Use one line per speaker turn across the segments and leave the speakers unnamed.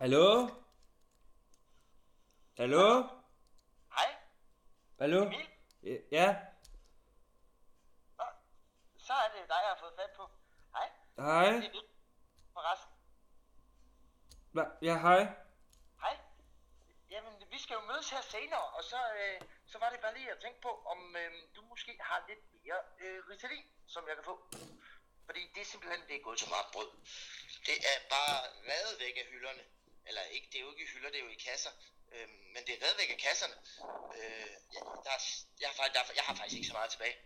Hallo? Hallo?
Hej,
Hallo?
Emil.
Øh, Ja,
Så er det dig, jeg har fået fat på. Hej, det
hej.
er Nick. Forresten.
Hva- Ja, hej.
Hej. Jamen, vi skal jo mødes her senere, og så, øh, så var det bare lige at tænke på, om øh, du måske har lidt mere øh, Ritalin, som jeg kan få. Fordi det er simpelthen, det er gået så meget brød. Det er bare reddet væk af hylderne. Eller ikke, det er jo ikke i hylder, det er jo i kasser. Øh, men det er reddet væk af kasserne. Øh, jeg, der er, s- jeg, har, fakt- der er, jeg har faktisk ikke så meget tilbage.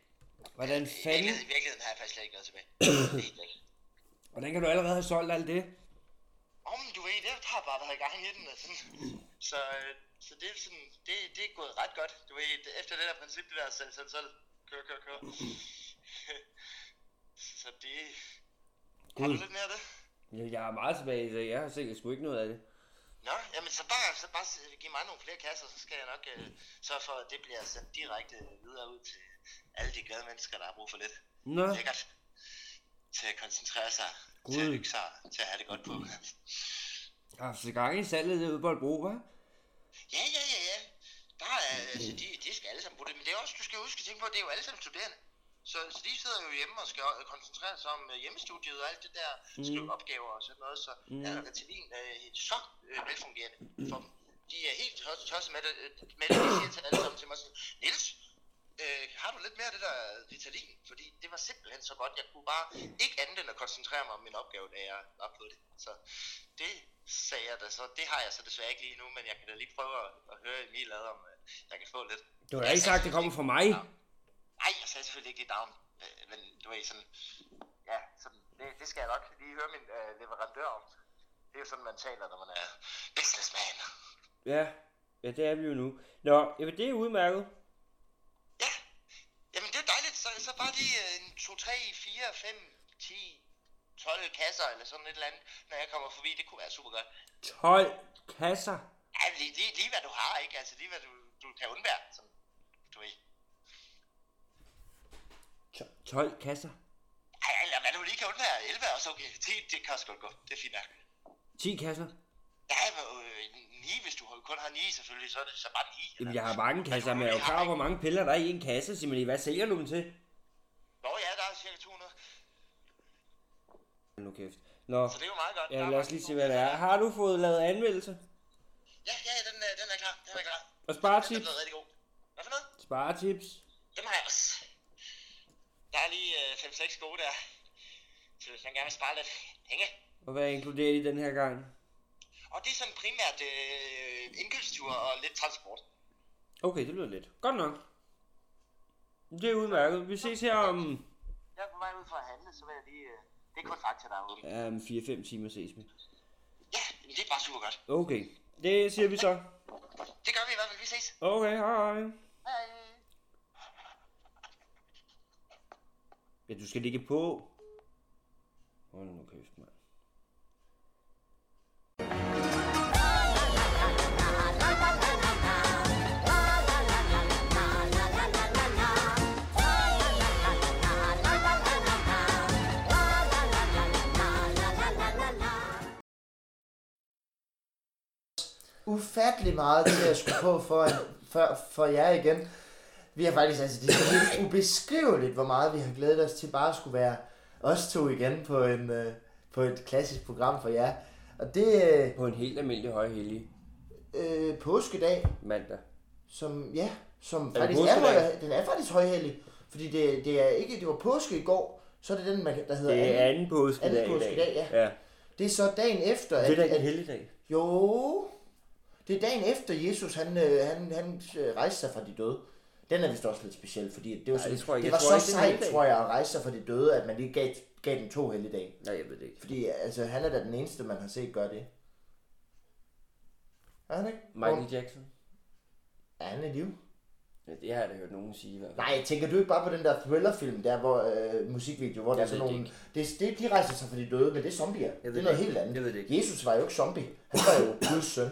Hvordan
I
fanden,
virkeligheden, I virkeligheden har jeg faktisk slet ikke noget tilbage. Det er helt væk.
hvordan kan du allerede have solgt alt det?
Om du ved, det har bare været i gang i den. Og sådan. Så, øh, så det, er sådan, det, det er gået ret godt. Du ved, det- efter det der princip, det der selv, selv, selv, kør, kør, kør. så det... Har du
Gud.
lidt mere af det?
Ja, Jeg er meget tilbage i det. Jeg har sikkert sgu ikke noget af det.
Nå, jamen så bare, så bare s- giv mig nogle flere kasser, så skal jeg nok øh, sørge for, at det bliver sendt direkte videre ud til alle de glade mennesker, der har brug for lidt.
Nå,
Lækkert. Til at koncentrere sig, til
Gud.
at hygge sig, til at have det godt på.
jeg har haft gang i salget derude på Holbro, hva'?
Ja, ja, ja, ja. Der er, altså, de, de skal alle sammen bruge det. Men det er også, du skal huske at tænke på, at det er jo alle sammen studerende. Så, så de sidder jo hjemme og skal øh, koncentrere sig om øh, hjemmestudiet og alt det der, mm. skrive opgaver og sådan noget. Så mm. er Ritalin øh, så øh, velfungerende for dem. De er helt tosset tosset med det. øh, Med det, de siger til alle sammen til mig sådan, Niels, øh, har du lidt mere af det der Ritalin? Fordi det var simpelthen så godt. Jeg kunne bare ikke andet end at koncentrere mig om min opgave, da jeg var på det. Så det sagde jeg da så. Det har jeg så desværre ikke lige nu, men jeg kan da lige prøve at, at høre Emil ad, om øh, jeg kan få lidt.
Du har da ikke sagt, det kommer fra mig.
Nej, jeg sagde selvfølgelig ikke lige down. Øh, men du ved, sådan, ja, sådan, det, det skal jeg nok lige høre min øh, leverandør om. Det er jo sådan, man taler, når man er businessman.
Ja, ja det er vi jo nu. Nå, jamen det er udmærket.
Ja, jamen det er dejligt. Så, så bare lige øh, en 2, 3, 4, 5, 10, 12 kasser eller sådan et eller andet, når jeg kommer forbi. Det kunne være super godt.
12 kasser.
Ja, lige, lige, lige hvad du har, ikke? Altså lige hvad du, du kan undvære, som du ved.
To- 12 kasser.
Ej, eller hvad du lige kan undvære. 11 er også okay. 10, det kan også godt gå. Det er fint nok.
10 kasser.
Nej, men øh, 9, hvis du kun har 9 selvfølgelig, så er det så bare 9.
Jamen, jeg har mange kasser, men jeg er jo klar over, hvor mange piller der er i en kasse, Simon. Hvad sælger du dem til?
Nå ja, der er cirka 200,
Nu kæft. Nå,
så det er jo meget godt. Der
ja,
er
lad os
mange
lige se,
gode-
hvad det er. Har du fået lavet anmeldelse?
Ja, ja, den, er- den er klar. Den er klar.
Og
Den er
sparetips?
blevet rigtig god. Hvad for noget?
Sparetips?
Dem har jeg også. Der er lige øh, 5-6 gode der. Så hvis man gerne vil spare lidt penge.
Og hvad inkluderer de den her gang?
Og det er sådan primært øh, indkøbstur og lidt transport.
Okay, det lyder lidt. Godt nok. Det er udmærket. Vi ses her om
Jeg er på vej ud for at handle, så vil jeg lige... Øh, det er kun fakta, der er åbent.
um, 4-5 timer ses vi.
Ja, men det er bare super godt.
Okay, det siger vi så.
Det gør vi i hvert fald. Vi ses.
Okay, hej.
Hej.
Ja, du skal ligge på. Hold nu kæft, mand.
ufattelig meget til at skulle på for, for, for jer igen. Vi har faktisk, altså det er helt ubeskriveligt, hvor meget vi har glædet os til bare at skulle være os to igen på, en, øh, på et klassisk program for jer. Og det er
På en helt almindelig højhellig
øh, påskedag,
mandag.
som, ja, som
det
faktisk er,
påskedag?
høj- den er faktisk højhellig. Fordi det, det er ikke, det var påske i går, så er det den, man- der hedder
Det er
anden.
anden påskedag
Anden
i dag.
påskedag, ja.
ja.
Det er så dagen efter, at,
Det er da ikke
at,
en helligdag.
Jo, det er dagen efter Jesus, han, øh, han, han øh, rejste sig fra de døde. Den er vist også lidt speciel, fordi det var,
Ej,
sådan,
det tror jeg ikke.
det
Jeg
var
tror ikke,
så
det er en
sejt,
helligdag.
tror jeg, at rejse sig fra de døde, at man lige gav, gav dem to helligdage.
Nej, jeg ved det ikke.
Fordi altså, han er da den eneste, man har set gøre det. Er han ikke?
Michael
Hvor-
Jackson?
Er han i live?
Ja, det har jeg da hørt nogen sige i hvert fald.
Nej, tænker du ikke bare på den der thrillerfilm, der hvor øh, musikvideo, hvor der er
Jeg
sådan
ved det
nogle... Det, det, de rejser sig fra de døde, men det er zombier. Det er
det
noget
ikke.
helt andet.
Jeg ved det ikke.
Jesus var jo ikke zombie. Han var jo Guds søn.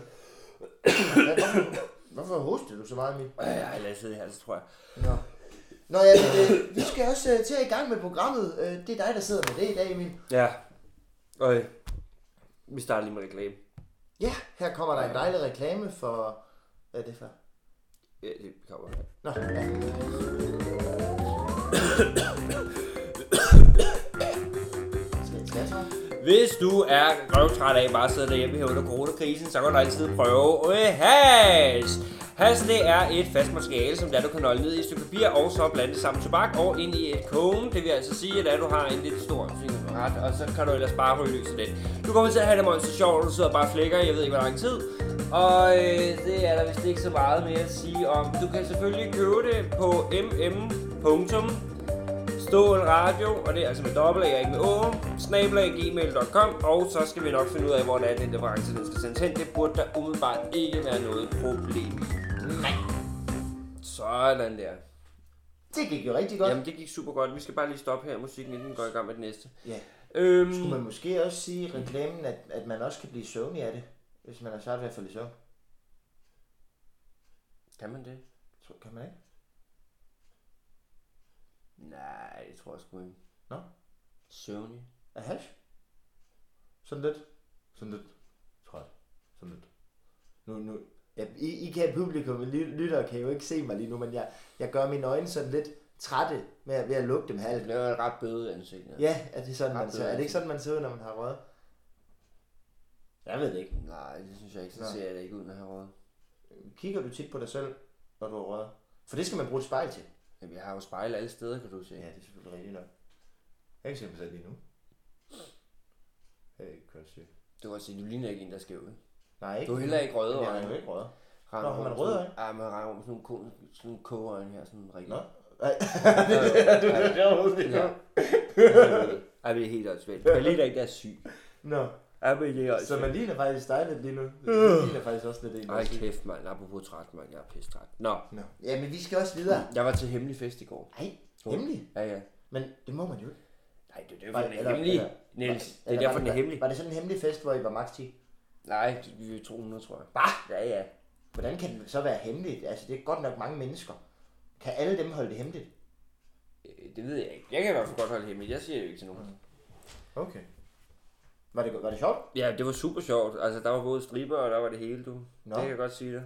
Hvad, hvorfor, hvorfor hostede du så meget, Emil?
Ej, ej, lad os sidde her, så tror jeg.
Nå. Nå ja, men, øh, vi skal også øh, til at i gang med programmet. Øh, det er dig, der sidder med det i dag, Emil.
Ja. Øj. Vi starter lige med reklame.
Ja, her kommer der en dejlig reklame for... Hvad er det for?
Ja, det kommer her.
Nå, ja. Skal- Skal jeg tage?
Hvis du er røvtræt af bare at sidde derhjemme her under coronakrisen, så kan du altid prøve øh, has. Has, det er et fast materiale, som der du kan nøgle ned i et stykke papir, og så blande det sammen tobak og ind i et kogem. Det vil altså sige, at du har en lidt stor cigaret, og så kan du ellers bare ryge løs af den. Du kommer til at have det meget så sjovt, og du sidder bare og flækker, jeg ved ikke hvor lang tid. Og øh, det er der vist ikke så meget mere at sige om. Du kan selvfølgelig købe det på mm. Stål Radio, og det er altså med dobbelt A, og ikke med Å, snabelag gmail.com, og så skal vi nok finde ud af, hvor det er, den leverance den skal sendes hen. Det burde der umiddelbart ikke være noget problem. i. Nej. Sådan der.
Det gik jo rigtig godt.
Jamen, det gik super godt. Vi skal bare lige stoppe her musikken, inden den går i gang med den næste.
Ja.
Øhm,
Skulle man måske også sige i reklamen, at, at man også kan blive søvnig af det, hvis man har svært ved at falde i søvn?
Kan man det?
Tror- Kan man ikke?
Nej, det tror jeg sgu ikke.
Nå?
Søvnig.
Er hash? Sådan lidt. Sådan lidt. Træt. Sådan lidt. Nu, nu. Ja, I, I kan publikum, ly- lyttere kan jo ikke se mig lige nu, men jeg, jeg gør mine øjne sådan lidt trætte med, at- ved at lukke dem
Altså, Det
halvt.
laver et ret bøde ansigt. Ja.
Ja, er det, sådan, man
Ret
ser, er det ikke sådan, man ser ud, når man har røget? Jeg ved det ikke.
Nej, det synes jeg ikke. Så
Nå.
ser jeg det ikke ud, når jeg har råd.
Kigger du tit på dig selv, når du har røget? For det skal man bruge et spejl til.
Jamen, jeg har jo spejl alle steder, kan du se.
Ja, det er selvfølgelig rigtigt nok. Jeg kan se mig selv lige nu. Jeg kan godt se.
Du kan se, du ligner ikke en, der er skæv. ikke?
Nej, ikke.
Du er heller ikke røde
Jeg
øjne.
har jo ikke røget.
Render
Nå, har man
rundt
røde
sådan-
øjne?
Ja, man render rundt med sådan nogle ko, sådan nogle kogeøjne her, sådan rigtig.
Nå. Nej, det er det, er sjovt.
Ja. Ej, det er helt åndssvagt. Jeg ligner ikke, der er syg.
Nå,
Ej, men det er
så
åndssvagt.
man ligner faktisk dig lidt lige nu. Man ligner faktisk også lidt en.
Øh. Ej, kæft, mand. Apropos træt, mand. Jeg er pisse træt. Nå,
Nå. Ja, men vi skal også videre.
jeg var til hemmelig fest i går.
Nej, hemmelig.
Ja, ja.
Men det må man jo ikke.
Nej, det er derfor,
Var-
den er
eller-
hemmelig.
eller-
Niels, det er
Eller
derfor,
var
den er hemmelig.
Var det sådan en hemmelig fest, hvor I var maks 10?
Nej, vi er 200, tror jeg.
Hva?
Ja, ja.
Hvordan kan det så være hemmeligt? Altså, det er godt nok mange mennesker. Kan alle dem holde det hemmeligt?
Øh, Det ved jeg ikke. Jeg kan i hvert fald godt holde det hemmeligt. Jeg siger det jo ikke til nogen.
Okay. Var det, var det sjovt?
Ja, det var super sjovt. Altså, der var både stripper, og der var det hele, du.
Nå.
Det kan jeg godt sige dig.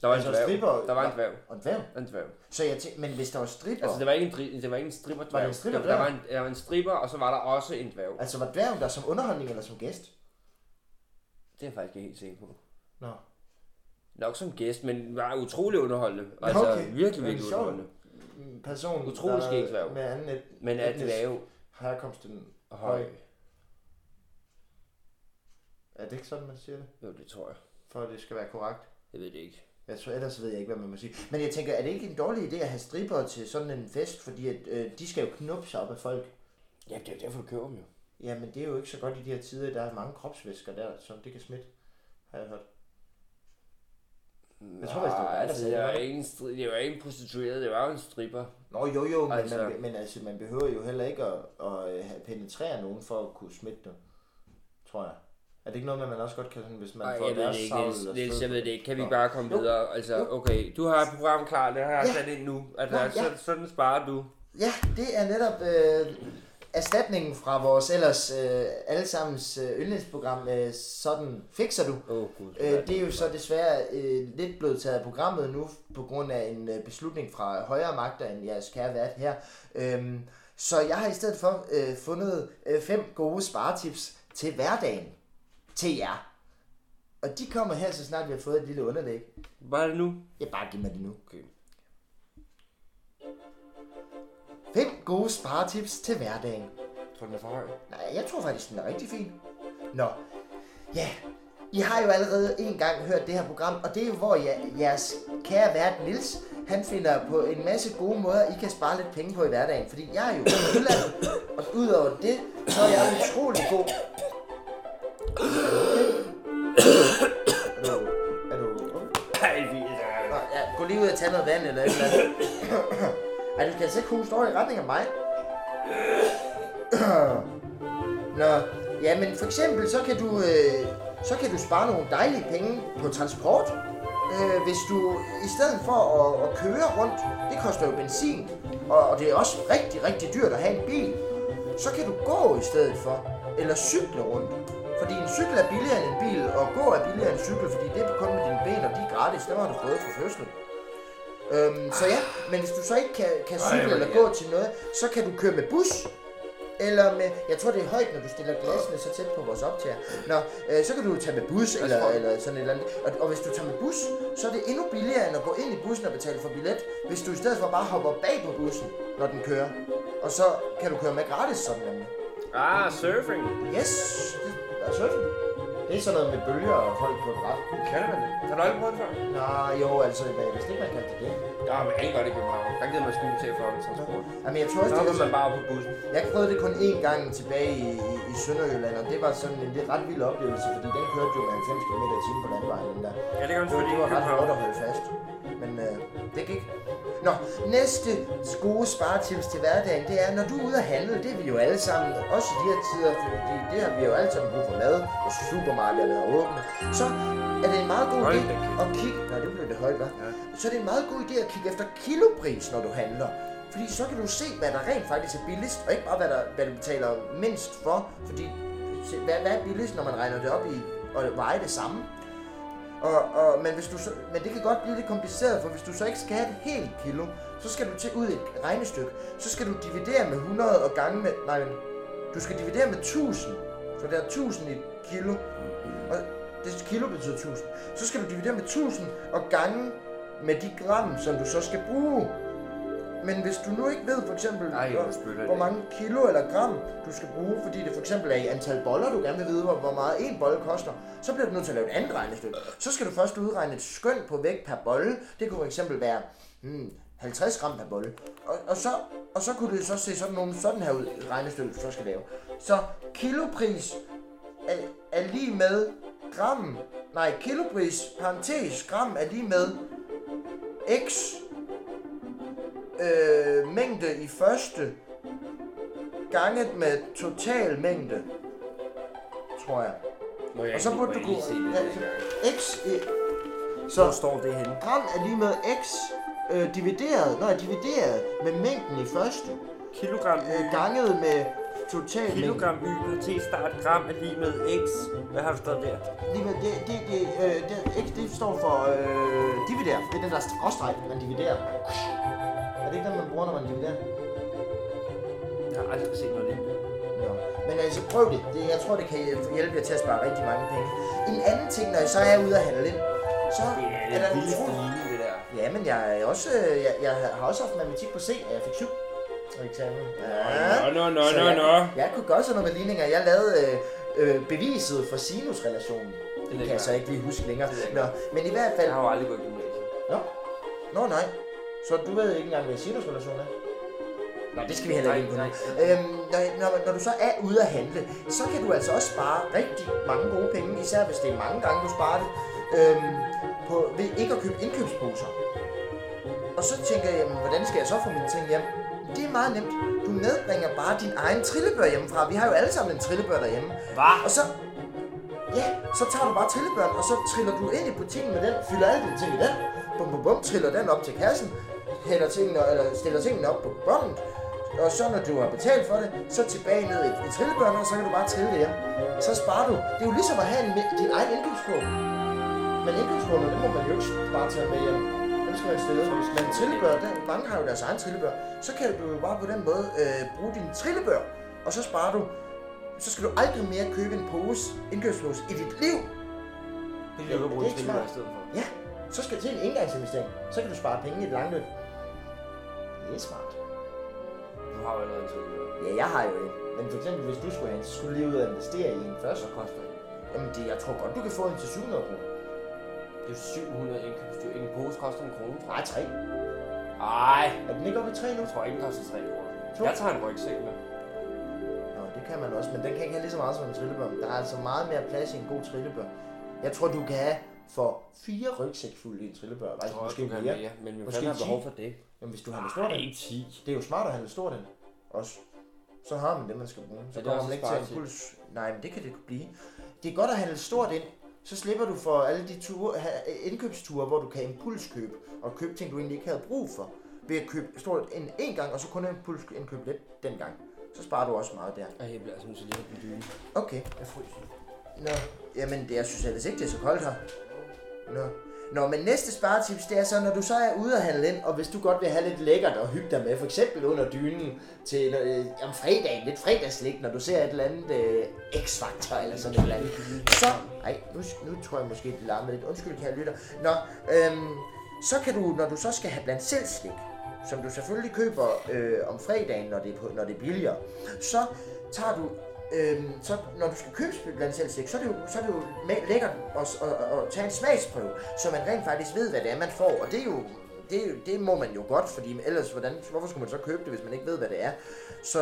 Der var en
Altså,
dværg.
stripper-
Der var en dværg.
Og en dværg?
En dværg.
Så jeg tænkte, men hvis der var stripper,
Altså, det var ikke en, dri- det var ikke en stripper
Var det
dværg.
en stripper
der, der, var en, der var en stripper, og så var der også en dværg.
altså var dværgen der som underholdning eller som gæst?
Det er jeg faktisk ikke helt sikker på.
Nå.
Nok som gæst, men var utrolig underholdende.
Nå,
Altså,
okay.
virkelig,
Men
virkelig
sjovt.
underholdende.
En person,
Utrolig
der
skæg dværg.
med anden et,
Men at
etnisk
dværge
Herkomst en
og
høj.
høj.
Er det ikke sådan, man siger det?
Jo, det tror jeg.
For at det skal være korrekt.
Jeg ved det ikke.
Jeg tror, ellers ved jeg ikke, hvad man må sige. Men jeg tænker, er det ikke en dårlig idé at have stripper til sådan en fest? Fordi at, øh, de skal jo knuppe sig op af folk.
Ja, det er jo derfor, du køber dem jo.
Jamen, det er jo ikke så godt i de her tider. Der er mange kropsvæsker der, som det kan smitte. Har jeg hørt. Jeg tror, hvis det var
Nej,
dig, der
altså,
sagde
det var
det.
ikke en, stri- det var ikke en prostitueret, det var jo en stripper.
Nå, jo, jo, men, altså...
Altså-
Man, men altså, man behøver jo heller ikke at, at øh, have- penetrere nogen for at kunne smitte dem. Tror jeg. Er det ikke noget, med, at man også godt kan, sådan, hvis man
Nej,
får
jeg ved
deres
det ikke,
savl
Niels,
og
Niels,
sved
jeg
på-
ved det ikke. Kan vi
Nå.
bare komme
Jo.
videre? Altså, okay, du har et program klar, det har jeg sat ind nu. Altså,
Ja, ja.
så, sådan sparer du.
Ja, det er netop øh, erstatningen fra vores ellers øh, allesammens øh, yndlingsprogram, øh, Sådan fikser du.
Åh, oh, gud.
Øh, det er jo så desværre øh, lidt blevet taget af programmet nu, på grund af en øh, beslutning fra højere magter end jeres kære vært her. Øhm, så jeg har i stedet for øh, fundet øh, fem gode sparetips til hverdagen til jer. Og de kommer her, så snart vi har fået et lille underlæg.
Hvad er det nu?
Jeg bare giv mig det nu.
Okay.
Fem gode sparetips til hverdagen.
Tror du, den er for høj?
Nej, jeg tror faktisk, den er rigtig fin. Nå, ja. I har jo allerede en gang hørt det her program, og det er jo, hvor je- jeres kære vært Nils, han finder på en masse gode måder, I kan spare lidt penge på i hverdagen. Fordi jeg er jo i udlandet, og udover det, så er jeg utrolig god. Er du, er du okay?
Ej, vi er
Nå, ja, gå lige ud og tage noget vand eller et eller andet. Ej, du skal altså ikke huske over i retning af mig. Nå, ja, men for eksempel, så kan du, øh, så kan du spare nogle dejlige penge på transport. Øh, hvis du i stedet for at, at køre rundt, det koster jo benzin, og, og det er også rigtig, rigtig dyrt at have en bil, så kan du gå i stedet for, eller cykle rundt. Fordi en cykel er billigere end en bil, og gå er billigere end en cykel, fordi det er kun med dine ben, og de er gratis. Dem har du fået fra fødslen. Øhm, så ja, men hvis du så ikke kan, kan
Ej,
cykle
hvor
eller
irriterende.
gå til noget, så kan du køre med bus. Eller med, jeg tror det er højt, når du stiller glasene så tæt på vores optager. Nå, øh, så kan du tage med bus eller,
tror jeg.
eller sådan et eller andet. Og, og hvis du tager med bus, så er det endnu billigere end at gå ind i bussen og betale for billet, hvis du i stedet for bare hopper bag på bussen, når den kører. Og så kan du køre med gratis sådan noget.
Ah, surfing.
Yes, det er surfing. Det er sådan noget med bølger og folk på et ret.
Kalder man det? Har du aldrig prøvet det før?
Nå, jo, altså, hvad- hvis det man kan det det.
Ja, men alle gør det i København. Der gider man sgu til for transport.
Jamen, jeg tror også,
Så
det
er
er
man bare på bussen.
Jeg prøvede det kun én gang tilbage i, i, i Sønderjylland, og det var sådan en lidt ret vild oplevelse, fordi den kørte jo med 90 km i timen på landvejen. Den der.
Ja, det kan man
Det, var-
selvfølgelig
det
ikke
var
i
ret
København.
hårdt at holde fast, men øh, det gik. Nå, næste gode sparetips til hverdagen, det er, når du er ude at handle, det er vi jo alle sammen, også i de her tider, fordi det har vi jo alle sammen brug for mad, og supermarkederne er åbne, så er det en meget god
Hold
idé
da kæft.
at kigge... Nå, det blev det højt, hva'?
Ja.
så er det en meget god idé at kigge efter kilopris, når du handler. Fordi så kan du se, hvad der rent faktisk er billigst, og ikke bare, hvad, der, hvad du betaler mindst for. Fordi, se, hvad, hvad er billigst, når man regner det op i og veje det samme? Og, og, men, hvis du så, men det kan godt blive lidt kompliceret, for hvis du så ikke skal have et helt kilo, så skal du til ud i et regnestykke. Så skal du dividere med 100 og gange med... Nej, men du skal dividere med 1000. For der er 1000 i et kilo. Og det kilo betyder 1000. Så skal du dividere med 1000 og gange med de gram, som du så skal bruge. Men hvis du nu ikke ved for eksempel,
Ej, hvor spytter
hvor,
det.
hvor mange kilo eller gram du skal bruge, fordi det for eksempel er i antal boller, du gerne vil vide, hvor, hvor meget en bolle koster, så bliver du nødt til at lave et andet regnestykke. Så skal du først udregne et skøn på vægt per bolle. Det kunne for eksempel være hmm, 50 gram per bolle. Og, og, så, og så kunne det så se sådan nogle sådan her ud, regnestykket du så skal lave. Så kilopris er, er lige med gram, nej, kilopris, parentes, gram er lige med x øh, mængde i første ganget med total mængde, tror jeg.
Må jeg
Og så
lige-
burde
må
du
jeg
kunne...
lige se det
ja,
næste gang.
X... i-
Hvor
Så
står det henne?
gram er lige med x øh, divideret, nej, divideret med mængden i første,
Kilogram y.
øh, ganget med total mængde.
Kilogram y parentes start gram er lige med x. Hvad har du stået der?
Lige med, det, det, det, øh, det, x, det står for øh, dividere. Det er den der skråstreg, man dividerer. Er det ikke den, man bruger, når man dividerer?
Jeg har aldrig set noget lignende.
Nå. Men altså, prøv det. det. Jeg tror, det kan hjælpe jer til at spare rigtig mange penge. En anden ting, når I så er ude at handle, så
Det er
er
det
der
vildeste
utrolig...
ligning, det der.
Ja, men jeg, er også, øh, jeg, jeg har også haft matematik på C, og jeg fik 7 og eksamen. Ja.
Nå, nå, nå,
Så
nå,
jeg,
nå.
Jeg kunne godt sådan noget med ligninger. Jeg lavede øh, øh, beviset for sinusrelationen. Det kan jeg
lækkert.
så ikke lige huske længere.
Det er
Nå,
lækkert.
men i hvert fald...
Jeg har jo aldrig gået i gymnasiet.
Nå. Nå, nej. Så du ved ikke engang, hvad sinusrelation er? Nå, det skal vi heller ikke ind på nu.
Nej, nej.
Øhm, når, når, når du så er ude at handle, så kan du altså også spare rigtig mange gode penge, især hvis det er mange gange, du sparer det, øhm, på, ved ikke at købe indkøbsposer. Og så tænker jeg, jamen, hvordan skal jeg så få mine ting hjem? Det er meget nemt. Du medbringer bare din egen trillebør hjemmefra. Vi har jo alle sammen en trillebør derhjemme.
Hvad?
Og så, ja, så tager du bare trillebørn, og så triller du ind i butikken med den, fylder alle dine ting i den, bum bum bum, triller den op til kassen, hælder tingene, eller stiller tingene op på båndet, og så når du har betalt for det, så tilbage ned i, i trillebørn, og så kan du bare trille det hjem. Så sparer du. Det er jo ligesom at have en, din egen indkøbskurve. Men indkøbskurven, det må man jo ikke bare tage med hjem. Den skal man stille. Men trillebør, der, mange har jo deres egen trillebør. Så kan du jo bare på den måde øh, bruge din trillebør, og så sparer du så skal du aldrig mere købe en pose, indkøbspose, i dit liv.
Det kan du bruge
Det er
til
ikke smart.
i stedet for.
Ja, så skal det til en engangsinvestering. Så kan du spare penge i det lange løb. Det er smart.
Du har jo allerede en trillebør.
Ja, jeg har jo en. Men for eksempel, hvis du skulle have en, så skulle du lige ud og investere i en først.
Hvad koster det?
Jamen, det, jeg tror godt, du kan få en til 700 kroner.
Det er 700 indkøbsstyr. En pose koster en krone, tror jeg.
Nej, 3.
Ej,
Er den ikke oppe i 3 nu?
jeg tror ikke, den koster 3 kroner.
To.
Jeg tager en rygsæk med.
Nå, det kan man også, men den kan ikke have lige så meget som en trillebør. Der er altså meget mere plads i en god trillebør. Jeg tror, du kan have for fire rygsæk fulde i en trillebør.
Jeg
Faktisk,
tror også,
måske
du kan
mere.
mere, men vi
Måske
kan have
ti.
behov for det.
Jamen, hvis du har en stor den.
ikke 10.
Det er jo smart at handle stort den. Også. Så har man det, man skal bruge. Så
det er
kommer
også et
man ikke til en
sparetip.
puls. Nej, men det kan det kunne blive. Det er godt at handle stort ind. Så slipper du for alle de ture, ha- indkøbsture, hvor du kan impulskøbe og købe ting, du egentlig ikke havde brug for. Ved at købe stort ind en gang, og så kun impulskøbe lidt den gang. Så sparer du også meget der.
Ej, jeg bliver altså nødt til lige at have den dyne.
Okay,
Jeg fryser.
Nå. Jamen, det, jeg synes ellers ikke, det er så koldt her. Nå. Nå, men næste sparetips, det er så, når du så er ude og handle ind, og hvis du godt vil have lidt lækkert og hygge dig med, for eksempel under dynen til øh, om fredagen, lidt fredagslik, når du ser et eller andet øh, x-faktor eller sådan et eller andet, så... Ej, nu, nu tror jeg måske, det larmer lidt. Undskyld, kære lytter. Nå, øhm, så kan du, når du så skal have blandt selv slik, som du selvfølgelig køber øh, om fredagen, når det, er på, når det er billigere, så tager du Øhm, så når du skal købe blandt selv slik, så er det jo, så er det jo ma- lækkert at, at, at, at, tage en smagsprøve, så man rent faktisk ved, hvad det er, man får. Og det er jo, det, er jo- det må man jo godt, fordi ellers, hvordan, hvorfor skulle man så købe det, hvis man ikke ved, hvad det er? Så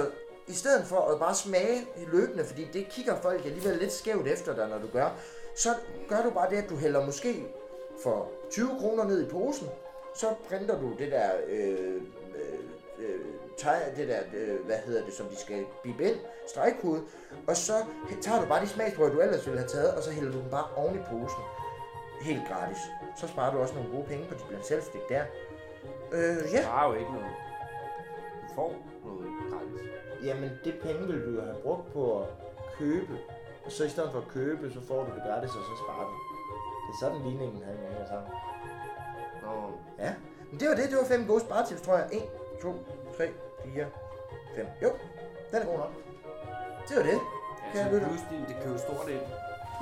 i stedet for at bare smage løbende, fordi det kigger folk alligevel lidt skævt efter dig, når du gør, så gør du bare det, at du hælder måske for 20 kroner ned i posen, så printer du det der øh, øh, øh, teg, det der, øh, hvad hedder det, som de skal bippe ind, stregkode, og så tager du bare de smagsprøver, du ellers ville have taget, og så hælder du dem bare oven i posen. Helt gratis. Så sparer du også nogle gode penge på dit blandt selvstik der. Øh, ja.
sparer jo ikke noget. Du får noget gratis.
Jamen, det penge ville du jo have brugt på at købe. Og så i stedet for at købe, så får du det gratis, og så sparer du. Det er sådan ligningen her hænger sammen.
Nå,
Ja. Men det var det. Det var fem gode sparetips, tror jeg. 1, 2, 3, 4, 5. Jo, den er god nok. Det var det.
altså,
Kære lytter.
pludselig, det kan jo stort ind.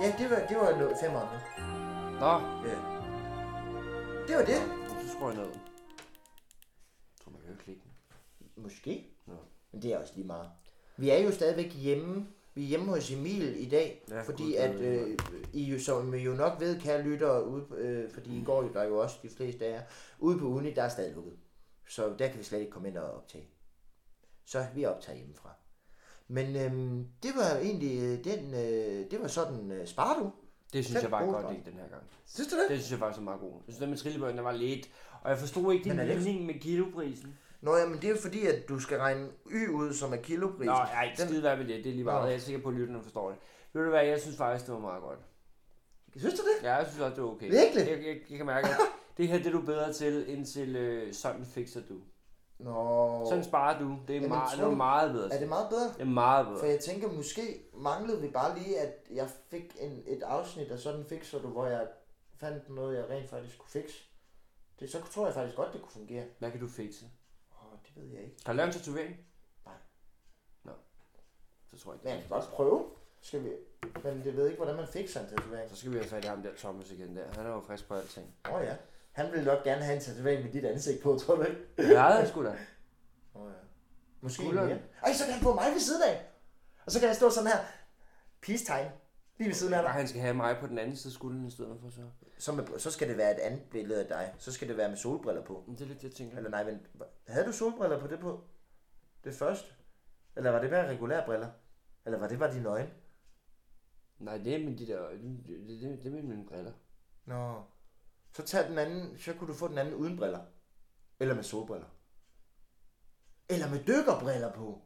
Ja, det var, det var noget fem andre.
Nå,
Ja. Det var det.
så skruer jeg ned. Jeg tror, man kan jo ikke klikke den.
Måske.
Nå.
Men det er også lige meget. Vi er jo stadigvæk hjemme. Vi er hjemme hos Emil i dag,
Ja,
ja, fordi
gud, det
at
ved jeg
øh, I jo, som I jo nok ved, kære lyttere, ude, på- øh, fordi
Mm.
I går jo der jo også de fleste af jer, ude på uni, der er stadig lukket. Så der kan vi slet ikke komme ind og optage. Så vi optager hjemmefra. Men øhm, det var egentlig øh, den, øh, det var sådan øh, sparer du.
Det synes
Fem
jeg var
gode
godt
svar.
i den her gang.
Synes du det?
Det synes jeg faktisk er meget god. Jeg synes, den med trillebøjen, der var lidt. Og jeg forstod ikke din
Men er det ikke-
ligning med kiloprisen.
Nå ja, men det er jo fordi, at du skal regne y ud, som er kilopris.
Nå, nej,
Den-
skide være med det. Det er lige
Nå.
meget. Jeg er sikker på, at lytterne forstår det. Ved du hvad, jeg synes faktisk, det var meget godt.
Synes du det?
Ja, jeg synes også, det var okay.
Virkelig?
Jeg, jeg, jeg kan mærke, at det her det er du bedre til, end til øh, sådan fikser du.
Nå.
Sådan sparer du. Det er,
Jamen,
meget,
tror
det er
du-
meget bedre.
Er
til.
det meget bedre?
Det er meget
For
bedre.
jeg tænker, måske manglede vi bare lige, at jeg fik en, et afsnit af sådan fikser du, hvor jeg fandt noget, jeg rent faktisk kunne fikse. Det, så tror jeg faktisk godt, det kunne fungere.
Hvad kan du fikse?
Åh, det ved jeg ikke.
Har du lavet en tatovering?
Nej.
Nå. Så tror jeg ikke.
Men
det
jeg kan
er
godt prøve. Skal vi... Men det ved ikke, hvordan man fikser en tatovering.
Så skal vi have fat i ham der Thomas igen der. Han er jo frisk på alting.
Åh oh, ja. Han ville nok gerne have en tatovering med dit ansigt på, tror du ikke?
Jeg havde sgu da.
Åh oh, ja. Måske
Skulderen.
mere. Ej, så kan han få mig ved siden af. Og så kan jeg stå sådan her. Peace time. Lige ved siden af
Og
dig.
han skal have mig på den anden side af skulderen i stedet for så.
Så, med, så skal det være et andet billede af dig. Så skal det være med solbriller på.
Men det er lidt, det, jeg tænker.
Eller nej, men havde du solbriller på det på? Det første? Eller var det bare regulære briller? Eller var det bare dine øjne?
Nej, det er med de der... Det, det, det, det er med mine briller.
Nå. Så tag den anden, så kunne du få den anden uden briller. Eller med solbriller. Eller med dykkerbriller på.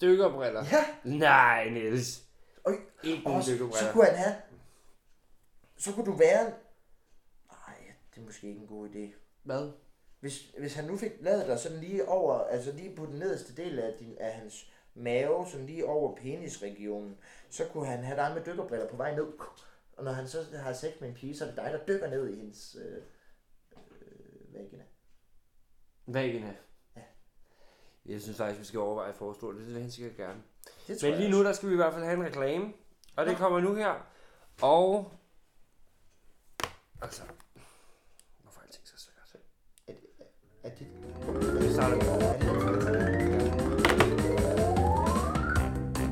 Dykkerbriller?
Ja.
Nej, Niels.
Og,
Ikke
og
nogen
så,
dykkerbriller.
så kunne han have... Så kunne du være... Nej, det er måske ikke en god idé.
Hvad?
Hvis, hvis han nu fik lavet dig sådan lige over, altså lige på den nederste del af, din, af hans mave, sådan lige over penisregionen, så kunne han have dig med dykkerbriller på vej ned. Og når han så har sex med en pige, så er det dig, der dykker ned i hendes øh, øh, vagina.
Væggene.
Ja.
Jeg synes faktisk, vi skal overveje at foreslå det. Det vil han sikkert gerne.
Det tror
Men lige
jeg
nu,
også.
der skal vi i hvert fald have en reklame. Og det kommer nu her. Og... Altså... Hvorfor er alting så svært?
Er det,
Vi starter med-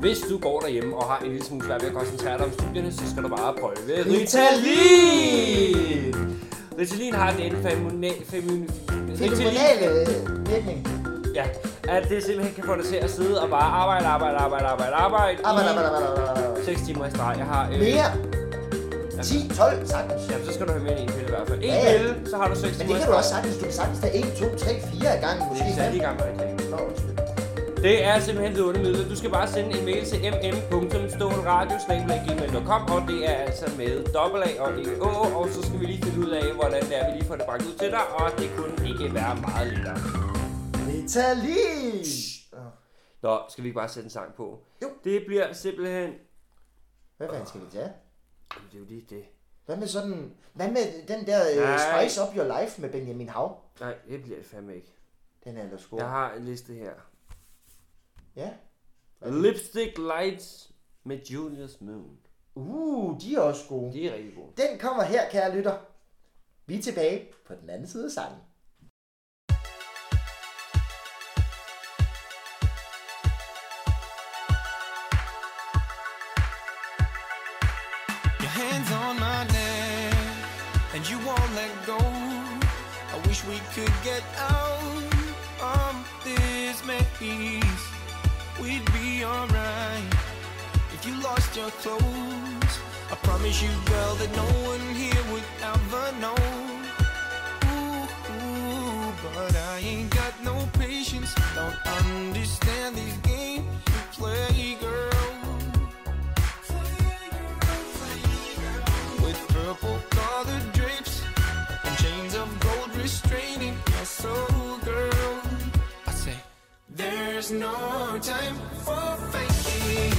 Hvis du går derhjemme og har en lille smule svært ved at koncentrere dig om studierne, så skal du bare prøve Ritalin! Ritalin har den femina- femin...
det er den
Ritalin
hormonale virkning.
Ja, at det simpelthen kan få dig til at sidde og bare arbejde, arbejde, arbejde, arbejde, arbejde.
Arbejde, arbejde, arbejde, arbejde, arbejde.
6 timer i streg. Jeg har... Øh,
Mere. 10, 12, sagtens.
Ja, så skal du have mere end en pille i hvert fald. En
Ja, ja.
pille, så har du 6
Men
timer
det
i
kan du
streg.
også sagtens. Du kan sagtens tage 1, 2, 3, 4 af gangen. Måske.
Det er særlig i gang med reklamen.
Nå, undskyld.
Det er simpelthen det undermiddel. Du skal bare sende en mail til mm.stålradio.gmail.com Og det er altså med dobbelt A og ikke Å Og så skal vi lige finde ud af, hvordan det er, vi lige får det bragt ud til dig Og det kunne ikke være meget lettere
Ritalin. Åh.
Nå, skal vi ikke bare sætte en sang på?
Jo.
Det bliver simpelthen
Hvad fanden skal vi tage?
Jamen, Det er jo lige det.
Hvad med sådan... Hvad med den der uh,
Nej.
Spice Up Your Life med Benjamin Hav?
Nej, det bliver det fandme ikke.
Den er ellers god.
Jeg har en liste her.
Ja.
Lipstick Lights med Julius Moon.
Uh, de er også gode.
De er rigtig gode.
Den kommer her, kære lytter. Vi er tilbage på den anden side af sangen.
Your hands on my neck, and you won't let go. I wish we could get out of this maze. We'd be alright if you lost your clothes. I promise you, girl, that no one here would ever know. Ooh, ooh, but I ain't got no patience. Don't understand these games you play, girl with purple colored drapes and chains of gold restraining your soul, girl. I say, there's no time for faking.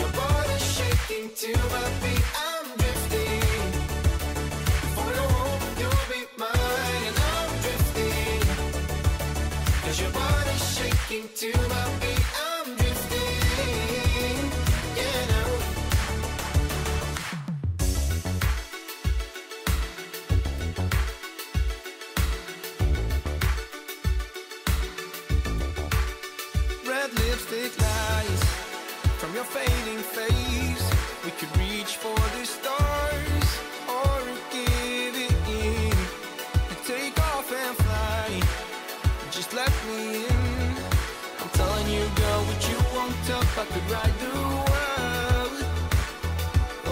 Your body's shaking to my beat. I'm drifting. For no hope, you'll be mine, and I'm drifting. 'Cause your body's shaking to my beat. I'm drifting. Yeah, now. red lipstick lies from your fading face. We could reach for the stars or give it in and take off and fly. Just let me in. I'm telling you, girl, what you want tough, I could ride the world.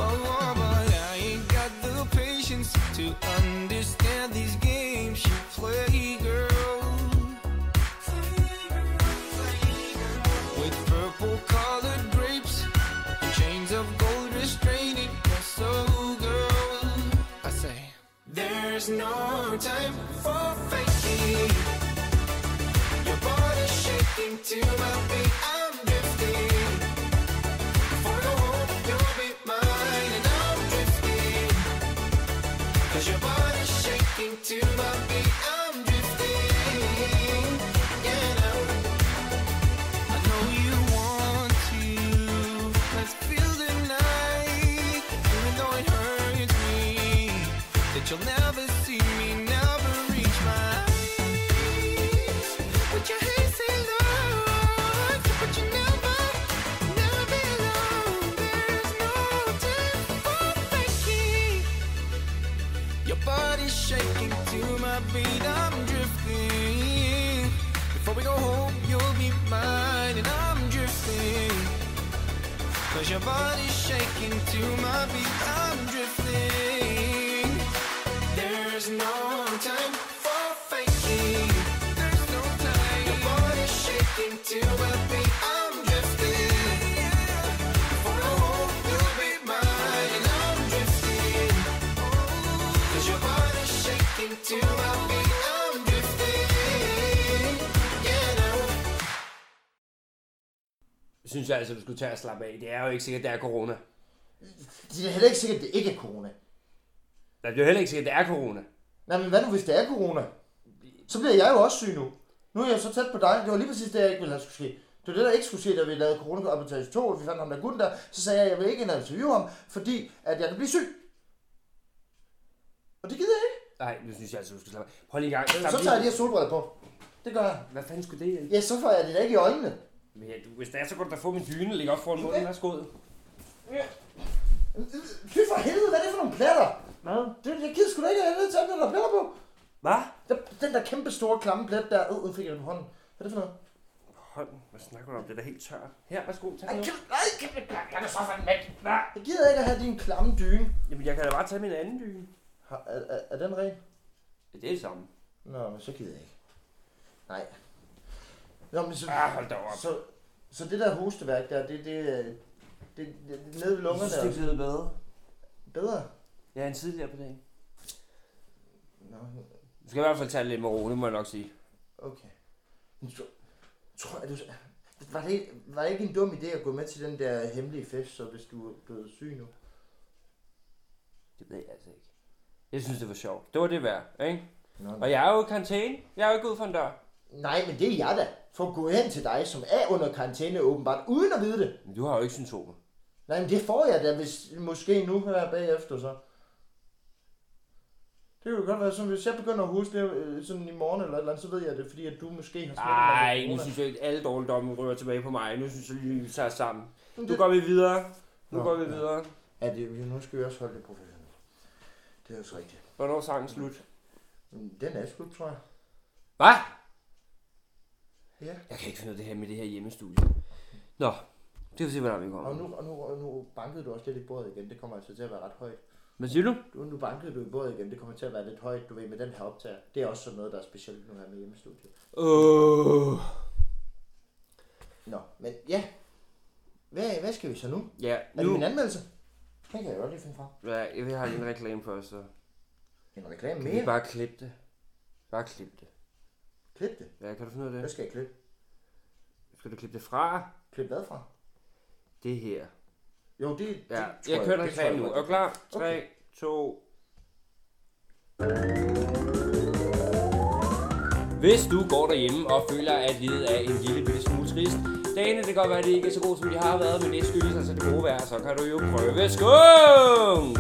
Oh, oh, but I ain't got the patience to understand these games you play, girl with purple colored grapes and chains of gold restraining your soul, girl. I say, there's no time for faking. Your body's shaking to my beat. I'm drifting. For no hope, you'll be mine, and I'm drifting. 'Cause your body's shaking to my beat. I'm drifting. Yeah, now. I know you want to. Let's feel the night, even though it hurts me that you'll never see me, never reach my eyes. But your hands say love, but you never, never be alone. There's no time for faking. Your body's shaking to my beat, I'm drifting. Before we go home, you'll be mine, and I'm drifting. Cause your body's shaking to my beat, I'm drifting. There's no time for faking. There's no time. Your body's shaking to my beat, I'm drifting. Before I go home, you'll be mine, and I'm drifting. Cause your body's shaking to my beat. I'm drifting. Yeah, now.
Synes jeg altså, du skulle tage og slappe af. Det er jo ikke sikkert, det er corona.
Det er heller ikke sikkert, at det ikke er corona.
Nej, det er jo heller ikke sikkert, det er corona.
Nej, men hvad nu, hvis det er corona? Så bliver jeg jo også syg nu. Nu er jeg så tæt på dig. Det var lige præcis det, jeg ikke ville have skulle ske. Det var det, der ikke skulle ske, da vi lavede coronakompetage 2, og vi fandt ham der Gunther. Så sagde jeg, at jeg vil ikke ind og interviewe ham, fordi at jeg kan blive syg. Og det gider jeg ikke.
Nej, nu synes jeg altså, du skal slappe af. Prøv lige en gang. Slap
Så tager jeg de her solbriller på. Det gør jeg.
Hvad fanden skulle det hjælpe?
Ja, så får jeg det da ikke i øjnene.
Men ja, du, hvis det er, så kan du da få min dyne og lægge op foran munden. Værsgo.
Fy for helvede, hvad er det for nogle pletter? Hvad? Det, jeg gider sgu da ikke, at jeg er nødt til at have den der pletter på.
Hvad?
Den- Den der kæmpe store klamme plet der, øh, den fik jeg den hånden. Hvad er det for noget?
Hold, hvad snakker du om? Det er da helt tørt. Her, værsgo. Tag
Ej,
noget.
kan, nej, kan, kan du så få den væk? Nej. Jeg gider ikke at have din klamme dyne.
Jamen, jeg kan da bare tage min anden dyne.
Har, er, er, er den ren?
Ja, det er det samme.
Nå, men så gider jeg ikke. Nej. Nå, men så,
Ah, hold da op.
så, så det der hosteværk der, det, det, øh, det, det, det nede ved lungerne er også
blevet bedre.
bedre.
Ja, end tidligere på dagen.
Nå,
Du skal i hvert fald tage det lidt med ro, det må jeg nok sige.
okay. Men, tror, tror, jeg, du, Var det, ikke- var det ikke en dum idé at gå med til den der hemmelige fest, så hvis du er blevet syg nu?
Det ved jeg altså ikke. Jeg synes, det var sjovt. Det var det værd, ikke?
Nå,
Og jeg er jo i karantæne. Jeg er jo ikke ude for en dør.
Nej, men det er jeg da. For at gå hen til dig, som er under karantæne åbenbart, uden at vide det.
Men du har jo ikke symptomer.
Nej, men det får jeg da, hvis måske nu her bagefter så. Det kunne godt være sådan, hvis jeg begynder at huske det øh, sådan i morgen eller et eller andet, så ved jeg det, fordi at du måske har smittet mig
Nej,
med
nu
corona.
synes jeg ikke, at alle dårligdomme rører tilbage på mig. Nu synes jeg, at vi tager sammen.
Men
Nu
det-
går vi videre. Nu
Nå,
går vi
ja.
videre.
Ja, det, vi- nu skal vi også holde det professionelt. Det er også rigtigt.
Hvornår er sangen slut?
Men Den er slut, tror jeg.
Hvad?
Ja.
Jeg kan ikke finde ud af det her med det her hjemmestudie. Nå, det vil se, hvordan vi
Og
kommer.
nu, og nu, og nu bankede du også lidt i bordet igen. Det kommer altså til at være ret højt.
Hvad siger du?
Nu, nu bankede du i bordet igen. Det kommer til at være lidt højt, du ved, med den her optager. Det er også sådan noget, der er specielt nu her med hjemmestudiet.
Øh.
Nå, men ja. Hvad, hvad skal vi så nu?
Ja,
Er det
nu.
min anmeldelse? Den kan jeg godt lige finde frem.
Ja, jeg har lige en reklame først, så.
En reklame
Vi
mere? Bare...
bare klippe det. Bare klippe det.
Klip det.
Ja, kan du finde ud af
Hvad
det?
skal jeg klippe?
Skal du klippe det fra
Klip hvad fra?
det her?
Jo, det, det
Ja,
tror
jeg kører en
det tror
reklame nu.
godt,
Er du
jeg
klar? 3,
Okay.
2... Hvis du går derhjemme og føler, at livet er en lille bitte smule trist, dagene det kan godt være, at det ikke er så godt, som de har været, men det skyldes altså det gode vejr, så kan du jo prøve skunk!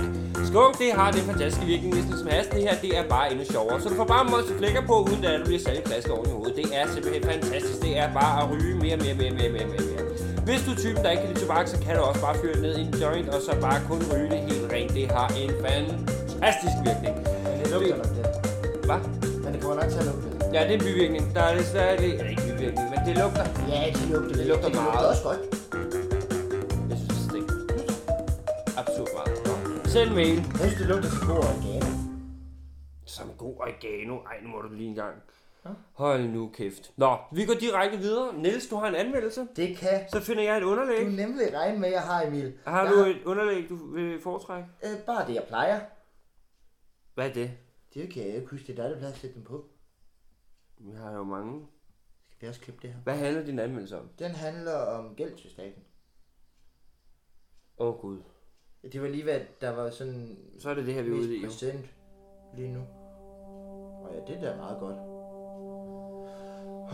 Skunk, det har det fantastiske virkning, hvis som has. Det her, det er bare endnu sjovere. Så du får bare måske flækker på, uden at du bliver særlig flaske oven i hovedet. Det er simpelthen fantastisk. Det er bare at ryge mere, mere, mere, mere, mere, mere, mere. Hvis du er typen, der ikke kan lide tobak, så kan du også bare fyre det ned i en joint, og så bare kun ryge det helt rent. Det har en fantastisk virkning.
Men det lugter nok det.
Hvad?
Men det kommer nok til at lugte lidt.
Ja, det er bivirkning. Der er det særligt... Eller ikke bivirkning, men det lugter.
Ja, det lugter lidt.
lugter
det
meget.
også godt.
Jeg synes, det stinker. Absurd meget. Send mail.
Jeg synes, det lugter så god organer.
Som god oregano. Ej, nu må du lige en gang. Hold nu kæft. Nå, vi går direkte videre. Niels, du har en anmeldelse.
Det kan
Så finder jeg et
du
underlæg.
nemlig regne med, jeg har, Emil.
Har
jeg
du et underlæg, du vil foretrække?
øh, bare det, jeg plejer.
Hvad er det?
Det kan jeg ikke huske. Det er dig, der plejer at sætte den på.
Vi har jo mange.
Skal vi også klippe det her?
Hvad handler din anmeldelse om?
Den handler om gæld til staten.
Åh oh, gud.
Det var lige hvad der var sådan
Så er det det her, vi er ude i.
mest
jo.
præsent lige nu. Og ja, det der er meget godt.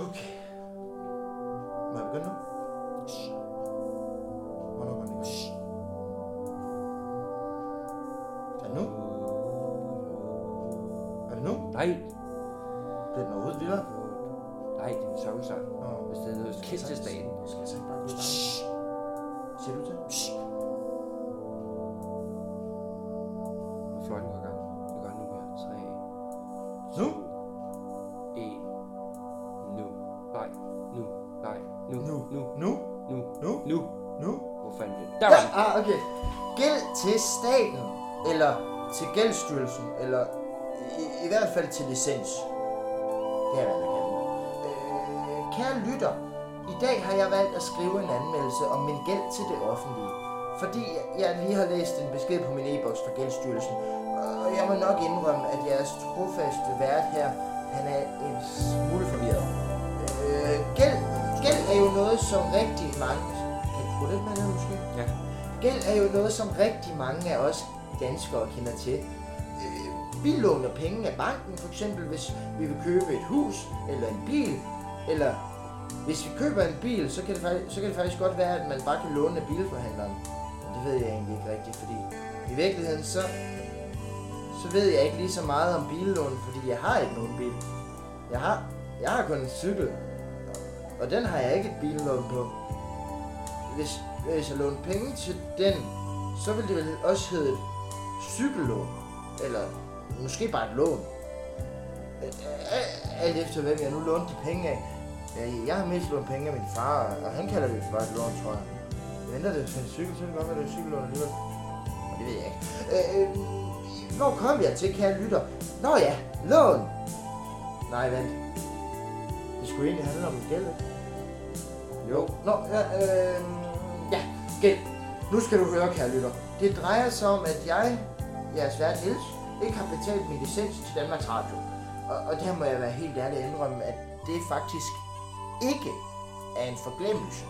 Okay. Må jeg begynde nu? Hvornår går den i gang? Er det nu? Er det nu?
Nej,
Bliver den overhovedet vildere?
nej, det er en songsang.
Nå.
Hvis det er noget kæft til staten.
Skal jeg så ikke bare gå starte? Siger du det?
Og fløjten går i gang. Det gør den nu her. 3,
Nu?
1, E. nu. Nej, nu, nej, nu,
Nu?
nu,
Nu?
nu,
Nu?
nu.
Nu?
Hvor fanden det? Der
Ja,
var den.
ah, okay. Gæld til staten, eller til gældsstyrelsen, eller i, i hvert fald til licens. Det er, hvad man kalder det. Øh, kære lytter, i dag har jeg valgt at skrive en anmeldelse om min gæld til det offentlige. Fordi jeg lige har læst en besked på min e-boks fra Gældsstyrelsen, og jeg må nok indrømme, at jeres trofaste vært her, han er en smule forvirret. Øh, gæld, gæld er jo noget, som rigtig mange... Kan du skrue lidt med her, måske?
Ja.
Gæld er jo noget, som rigtig mange af os danskere kender til. Øh, vi låner penge af banken, for eksempel hvis vi vil købe et hus eller en bil, eller hvis vi køber en bil, så kan det faktisk, så kan det faktisk godt være, at man bare kan låne af bilforhandleren. Men det ved jeg egentlig ikke rigtigt, fordi i virkeligheden så, så ved jeg ikke lige så meget om billån, fordi jeg har ikke nogen bil. Jeg har, jeg har kun en cykel, og den har jeg ikke et billån på hvis, hvis jeg lånte penge til den, så ville det vel også hedde et cykellån. Eller måske bare et lån. Øh, øh, Alt efter hvem jeg nu lånte de penge af. Øh, Jeg har mest lånt penge af min far, og han kalder det for et lån, tror jeg. Venter det til en cykel, så kan det godt være, det er et cykellån alligevel. Og det ved jeg ikke. Øh, øh, hvor kom jeg til, kære lytter? Nå ja, lån! Nej, vent. Det skulle egentlig handle om gæld, ikke? Jo. Nå, ja, øh, ja, gæld. Nu skal du høre, kære lytter. Det drejer sig om, at jeg, jeres vært Niels, ikke har betalt min licens til Danmarks Radio. Og, og der må jeg være helt ærlig og indrømme, at det faktisk ikke af en forglemmelse.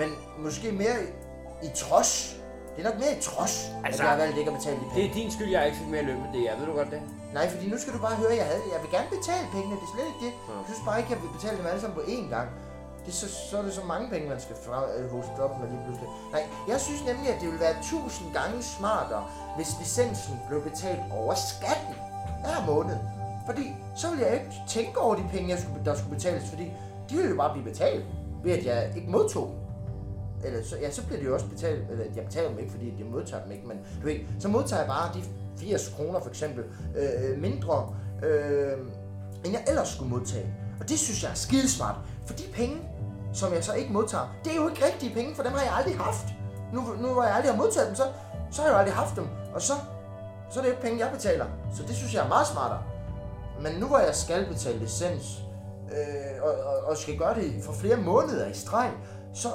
Men måske mere i, i trods. Det er nok mere i trods, altså,
Altså,
at jeg har valgt ikke at betale de
Det
penge.
er din skyld, jeg ikke fik mere løn med det. Jeg ved du godt det?
Nej, fordi nu skal du bare høre, jeg havde. Jeg vil gerne betale pengene, det er slet ikke det. Jeg synes bare ikke, jeg vil betale dem alle sammen på én gang. Det er så, så er det så mange penge, man skal fra, øh, hoste op med lige pludselig. Nej, jeg synes nemlig, at det ville være tusind gange smartere, hvis licensen blev betalt over skatten hver måned. Fordi så ville jeg ikke tænke over de penge, jeg skulle, der skulle betales, fordi de ville jo bare blive betalt, ved at jeg ikke modtog dem eller så, ja, så bliver det jo også betalt, eller jeg betaler dem ikke, fordi jeg modtager dem ikke, men du ved, så modtager jeg bare de 80 kroner for eksempel øh, mindre, øh, end jeg ellers skulle modtage. Og det synes jeg er skidesmart, for de penge, som jeg så ikke modtager, det er jo ikke rigtige penge, for dem har jeg aldrig haft. Nu, nu hvor jeg aldrig har modtaget dem, så, så har jeg jo aldrig haft dem, og så, så er det jo ikke penge, jeg betaler. Så det synes jeg er meget smartere. Men nu hvor jeg skal betale licens, øh, og, og, og skal gøre det for flere måneder i streg, så, øh,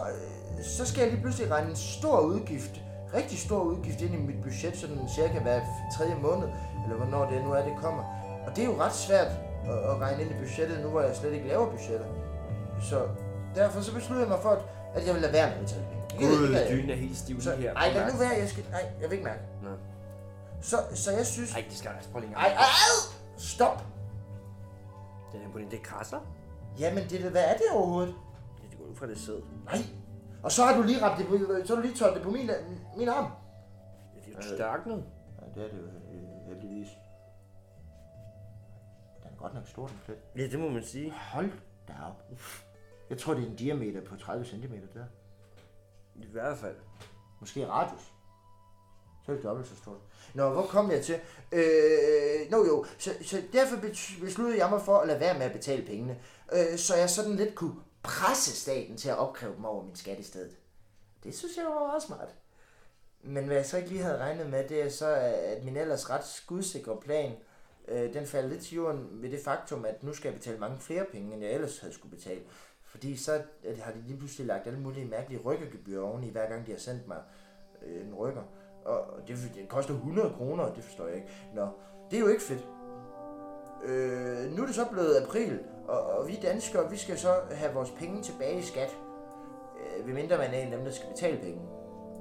så skal jeg lige pludselig regne en stor udgift, rigtig stor udgift ind i mit budget, sådan cirka hver tredje måned, eller hvornår det nu er, det kommer. Og det er jo ret svært at, at regne ind i budgettet, nu hvor jeg slet ikke laver budgetter. Så derfor så besluttede jeg mig for, at, at jeg vil lade være med at betale penge. Jeg gider ikke,
Gud,
at jeg-
dynen er helt stiv
så,
lige her.
ej,
Prøv at
lad nu
mærke.
være, jeg skal, ej, jeg vil ikke mærke.
Nå.
Så, så jeg synes,
Ej, det skal jeg altså prøve lige
ej,
en gang.
ej, au! stop.
Den her pudding, det krasser.
Jamen, det, hvad er det overhovedet?
Det går ud fra det sæd.
Nej. Og så har du lige ramt det på, så har du lige tørt det på min, min arm.
Det er jo størknet.
Ja, det er det jo øh, heldigvis. Den er godt nok stor, den plet.
Ja, det må man sige.
Hold da op. Jeg tror, det er en diameter på 30 cm der.
I hvert fald.
Måske radius. Så er det dobbelt så stort. Nå, hvor kom jeg til? Øh, nå jo, så, så derfor bet- besluttede jeg mig for at lade være med at betale pengene. Øh, så jeg sådan lidt kunne presse staten til at opkræve dem over min skat i stedet. Det synes jeg var meget smart. Men hvad jeg så ikke lige havde regnet med, det er så, at min ellers ret skudsikre plan, øh, den faldt lidt til jorden ved det faktum, at nu skal jeg betale mange flere penge, end jeg ellers havde skulle betale. Fordi så at, har de lige pludselig lagt alle mulige mærkelige rykkergebyr oveni, hver gang de har sendt mig øh, en rykker. Og og det, det koster 100 kroner, og det forstår jeg ikke. Nå, det er jo ikke fedt. Øh, nu er det så blevet april, og, og vi danskere, vi skal så have vores penge tilbage i skat. Øh, ved mindre man er en af dem, der skal betale penge.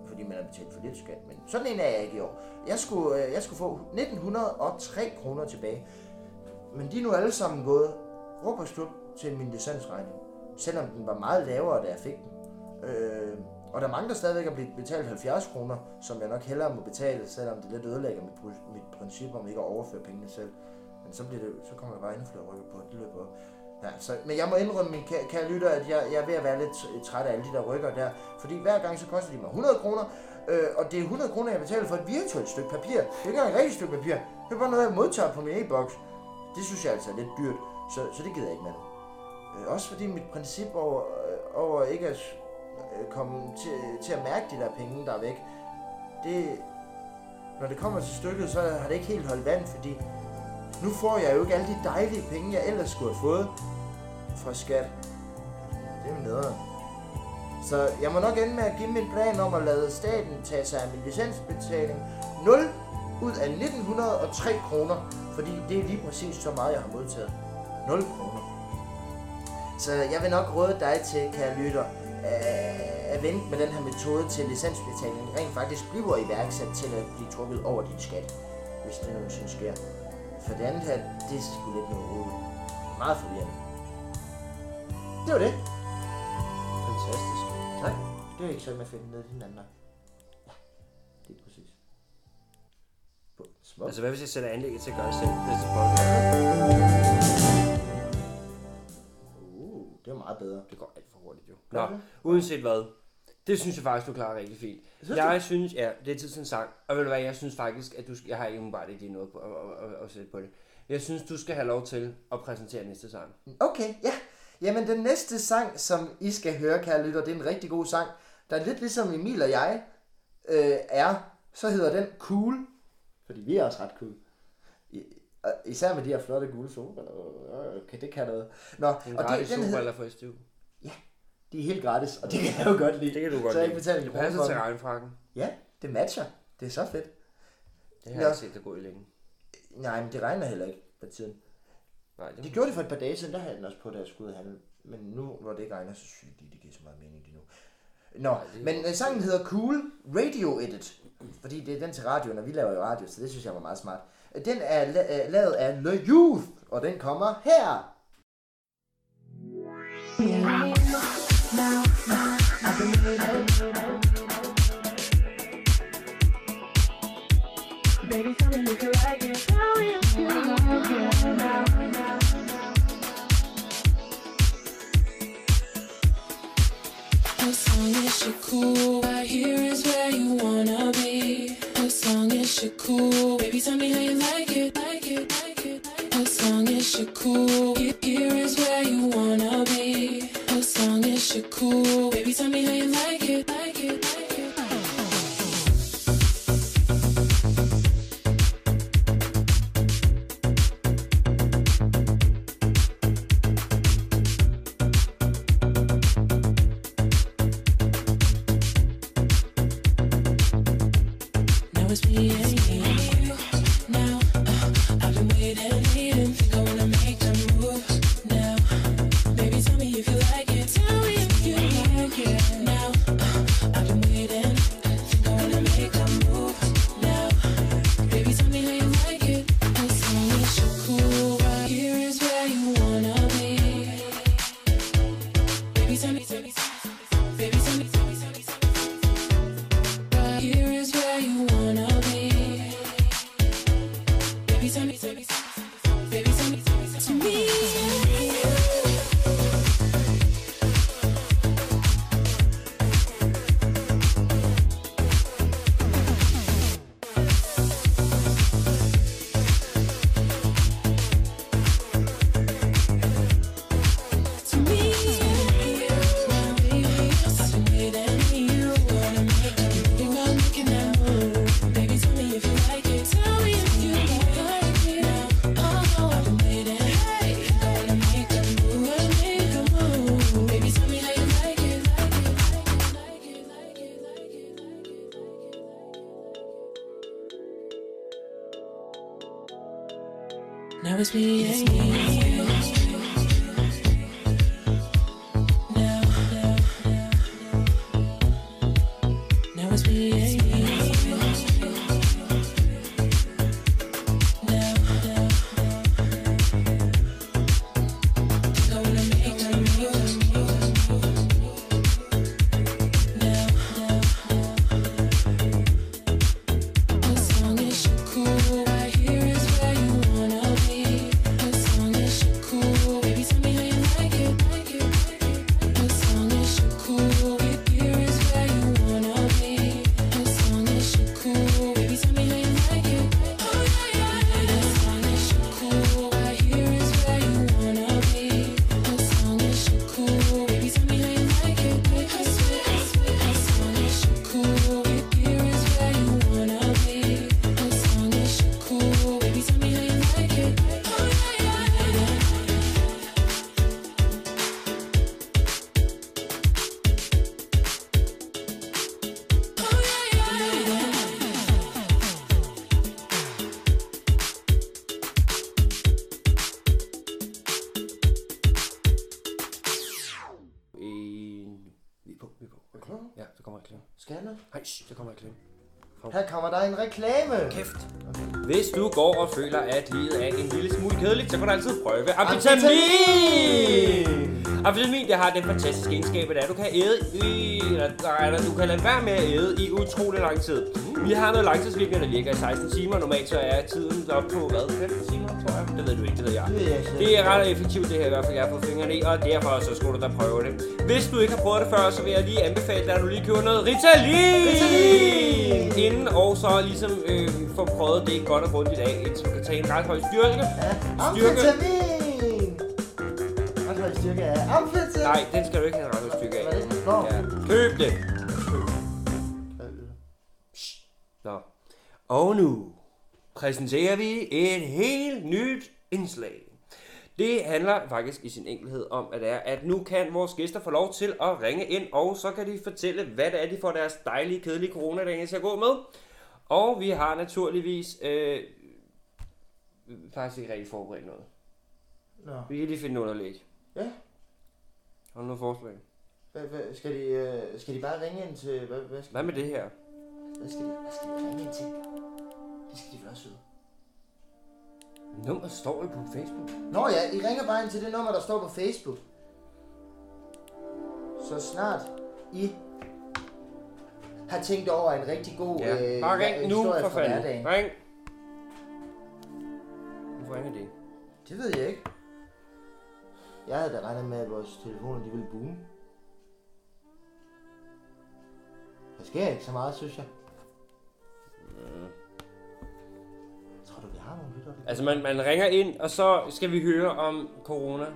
Fordi man har betalt for lidt skat, men sådan en er jeg ikke i år. Jeg skulle, øh, jeg skulle få 1903 kroner tilbage. Men de er nu alle sammen gået råb og stup til min licensregning. Selvom den var meget lavere, da jeg fik den. Øh, og der mangler stadigvæk at blive betalt 70 kroner, som jeg nok hellere må betale, selvom det lidt ødelægger mit, pr- mit princip om ikke at overføre pengene selv. Men så, bliver det, så kommer der bare endnu flere rykker på, og det løber op. Ja, så, men jeg må indrømme, min kære, kære lytter, at jeg, jeg er ved at være lidt t- træt af alle de der rykker der. Fordi hver gang, så koster de mig 100 kroner, øh, og det er 100 kroner, jeg betaler for et virtuelt stykke papir. Det er ikke engang et rigtigt stykke papir. Det er bare noget, jeg modtager på min e-boks. Det synes jeg altså er lidt dyrt, så, så det gider jeg ikke med nu. Øh, også fordi mit princip over, øh, over ikke at øh, komme til, til at mærke de der penge, der er væk, det, når det kommer til stykket, så har det ikke helt holdt vand, fordi nu får jeg jo ikke alle de dejlige penge, jeg ellers skulle have fået fra skat. Det er jo nederen. Så jeg må nok ende med at give min plan om at lade staten tage sig af min licensbetaling 0 ud af 1903 kroner, fordi det er lige præcis så meget, jeg har modtaget. 0 kroner. Så jeg vil nok råde dig til, kære lytter, øh, at vente med den her metode til licensbetalingen rent faktisk bliver iværksat til at blive trukket over din skat, hvis det nogensinde sker. For det andet her, det er sgu lidt noget roligt. Meget forvirrende. Det var det.
Fantastisk.
Tak. Det er ikke sådan, man finder noget i den anden. Ja, det er præcis. Smuk.
Altså, hvad hvis jeg sætter anlægget til at gøre det selv? Hvis det prøver?
Uh, det er meget bedre.
Det går alt for hurtigt, jo. Nå, uanset hvad. Det synes jeg faktisk, du klarer rigtig fint.
Synes du?
jeg synes, ja, det er tid til en sang. Og ved du hvad, jeg synes faktisk, at du skal, jeg har ikke umiddelbart ikke lige noget på, at, at, at, at sætte på det. Jeg synes, du skal have lov til at præsentere næste sang.
Okay, ja. Jamen, den næste sang, som I skal høre, kære lytter, det er en rigtig god sang. Der er lidt ligesom Emil og jeg øh, er, så hedder den Cool. Fordi vi er også ret cool. I, og især med de her flotte gule sofaer. Okay, det kan noget. Nå, og
En
det,
gratis
den
sofa
hedder,
eller for STU.
de er helt gratis, og det kan jeg jo godt lide.
Det kan du godt
så jeg ikke
lide.
betaler en
Det
krone
passer
for
til
den.
regnfrakken.
Ja, det matcher. Det er så fedt.
Det har jeg
Nå.
ikke set dig gå i længe.
Nej, men det regner heller ikke for tiden.
Nej, det,
Det gjorde det for et par dage siden, der havde den også på, da jeg skulle ud og handle. Men nu, hvor det ikke regner, så synes jeg lige, det giver så meget mening lige nu. Nå, men øh, sangen hedder Cool Radio Edit, fordi det er den til radioen, og vi laver jo radio, så det synes jeg var meget smart. Øh, Den er la- øh, lavet af Le Youth, og den kommer her.
Baby, tell me you can like it. Tell me you can like it. Now, now.
As long as you're cool, right here is where you wanna be. As long as you're cool, baby, tell me how you like it, like it, like it. like it. As long as you're cool, he- here is where you wanna be. As long as you're cool, baby, tell me how you like it, like it, like it. like it. Now it's me and you. Now uh, I've been waiting, waiting. Think I wanna make the move now. Baby, tell me if you like it. Tell me if you like it. Now uh, I've been waiting. Think I wanna make the move now. Baby, tell me how you like it. As long as you're cool, right here is where you wanna be. Baby, tell me, tell me, baby, tell me, tell me, tell me, tell me. Right here is where you wanna be. Baby, tell me, tell me, baby, tell me, tell me, tell me. To me, now, baby, I've been waiting. You wanna make a move, you are making that move. Baby, tell me if you like it. Tell me if you like it. Now, oh, I've been waiting. Hey, gonna make a move, gonna make a move. Baby, tell me how you like it, like it, like it, like it, like it, like it, like it. Now it's me and you. Now, now, now, now it's me and you. Now, now, now, now. Gonna make a move, move, move. Now, now, now. As long as you're cool, right here is where you wanna be. As long as you're cool, baby, tell me how you like it, like it, like it. As long as you're cool, right here is where you wanna be. As long as you're cool, baby, tell me how you like it. Oh yeah, yeah. As long as you're cool, right here is where you wanna be. As long as you're cool, baby, tell me how you like it. I swear, I swear. As long as you're cool, right here is where you wanna be. As long as you're cool, baby, tell me how you like it. Oh yeah, yeah, yeah.
En... Vi er på, vi er på. Okay. Ja, der kommer reklame.
Scanner.
Hej, shh, der kommer reklame.
Her kommer der en reklame.
Kæft. Hvis du går og føler, at livet er en lille smule kedeligt, så kan du altid prøve amfetamin. Amfetamin, det har den fantastiske egenskab, at du kan æde i, eller, nej, eller du kan lade være med at æde i utrolig lang tid. Vi har noget langtidslinjer, der virker i 16 timer. Normalt så er tiden op på, hvad, 15 timer, tror jeg? Det ved du ikke, det ved jeg.
ved jeg ikke.
Det er ret effektivt, det her i hvert fald, jeg har fået fingrene i, og derfor så skulle du da prøve det. Hvis du ikke har prøvet det før, så vil jeg lige anbefale dig, at du lige køber noget Ritalin!
Ritalin!
Inden, og så ligesom øh, få prøvet det godt og grundigt af, indtil du kan tage en ret høj styrke.
Ja,
Styrke.
Amfetamin. Hvad for en styrke er amfetamin?
Nej, den skal du ikke have en ret høj styrke af.
Hvad er det? Nå. Øh,
Ja. Køb det! Nå. Og nu præsenterer vi et helt nyt indslag. Det handler faktisk i sin enkelhed om, at, det er, at nu kan vores gæster få lov til at ringe ind, og så kan de fortælle, hvad det er, de får deres dejlige, kedelige coronadage til at gå med. Og vi har naturligvis øh, faktisk ikke rigtig forberedt noget.
Nå.
Vi kan lige finde noget at lægge.
Ja.
Har du noget forslag?
Hvad, hvad, skal, de, øh, skal de bare ringe ind til... Hvad, hvad, skal,
Hvad med det her?
hvad, skal, de, hvad skal de ringe ind til? Det skal de vel også vide.
Nummer står jo på Facebook.
Nå ja, I ringer bare ind til det nummer, der står på Facebook. Så snart I har tænkt over en rigtig god øh,
Ja. Bare ring nu
historie
for
fra
fanden.
hverdagen.
Ring. Hvorfor ringer de?
Det ved jeg ikke. Jeg havde da regnet med, at vores telefoner de ville boome. Der sker ikke så meget, synes jeg.
Mm.
Tror du, vi har nogle lytter?
Altså man, man ringer ind, og så skal vi høre om corona.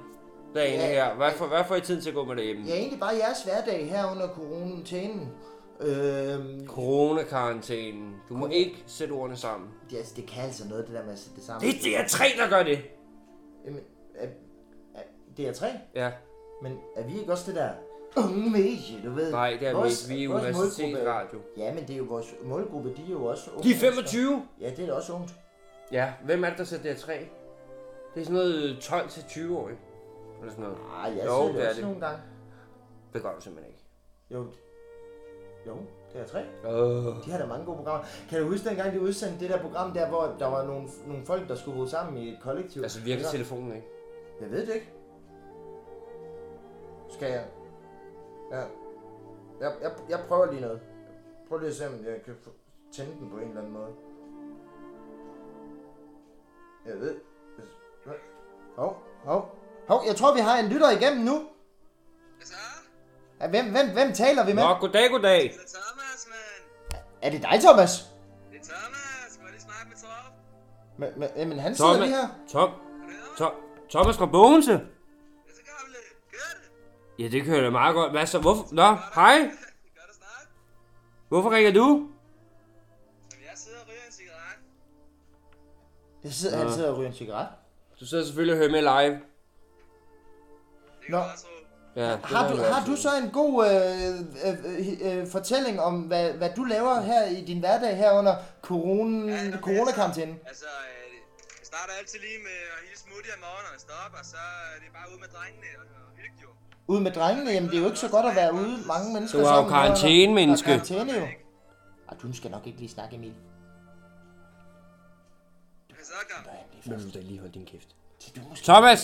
Dagen
Ja.
her. Hvad får, hvad får I tid til at gå med det hjemme?
Ja, egentlig bare jeres hverdag her under coronaen. Øhm,
Coronakarantænen. Du må ikke sætte ordene sammen.
det, altså, det kan altså noget, det der med at sætte det sammen.
Det, det er tre, der gør det.
Jamen, er, er, det er tre,
Ja.
men er vi ikke også det der unge medie, du ved?
Nej, det er vi ikke. Vi er
vores
universitetsradio.
målgruppe- Ja, men det er jo vores målgruppe, de er jo også unge
De er
mennesker.
25.
Ja, det er da også ungt.
Ja. Hvem er det, der sætter det er tre? Det er sådan noget 12-20-årige. Eller sådan noget.
Ah, jeg
Jo,
jo, ser
det
det
er
også
det.
nogle gange.
Det gør du simpelthen ikke.
Jo, jo, det er tre.
Øh.
De har da mange gode programmer. Kan du huske dengang, de udsendte det der program der, hvor der var nogle, nogle folk, der skulle bo sammen i et kollektiv?
Altså virker
Ja.
telefonen ikke?
Jeg ved det ikke. Skal jeg? Ja. Jeg, jeg, jeg prøver lige noget. Prøv lige at se, om jeg kan få- tænde den på en eller anden måde. Jeg ved. jeg- Hov, hov. Hov, jeg tror, vi har en lytter igennem nu.
Hvad så?
Ja, Hvem, hvem, hvem taler vi med?
Nå, goddag, goddag.
Det er Thomas, mand.
Er det dig, Thomas?
Det er Thomas. Hvor er det smart med trop?
Men, men, men han sidder
Thomas,
lige her.
Tom,
Er det Thomas?
Tom, Thomas fra Bogense.
Det er så gamle. Gør det.
Ja, det kører da meget godt. Hvad så? Hvorfor? Nå, hej.
Vi gør det snart.
Hvorfor ringer du?
Jamen, jeg sidder og ryger en cigaret.
Jeg sidder, han sidder og ryger en cigaret.
Du sidder selvfølgelig og hører med live.
Det kan
Nå.
jeg også tro.
Ja,
Har du, har du så en god øh, øh, øh, øh, fortælling om, hvad, hvad du laver her i din hverdag her under corona,
Ja, okay.
coronakarantænen?
Altså, øh, jeg starter altid lige med at hilse Mutti om morgenen, når jeg står op, og så er det bare ud med drengene og, og hygge jo.
Ude med drengene, jamen det er jo ikke så godt at være ude mange mennesker
Du har jo
sammen, når-
karantæne, menneske.
Der er karantæne jo. Ej, du skal nok ikke lige snakke, Emil.
Hvad så, gamle?
Må du da lige holde din kæft. Thomas!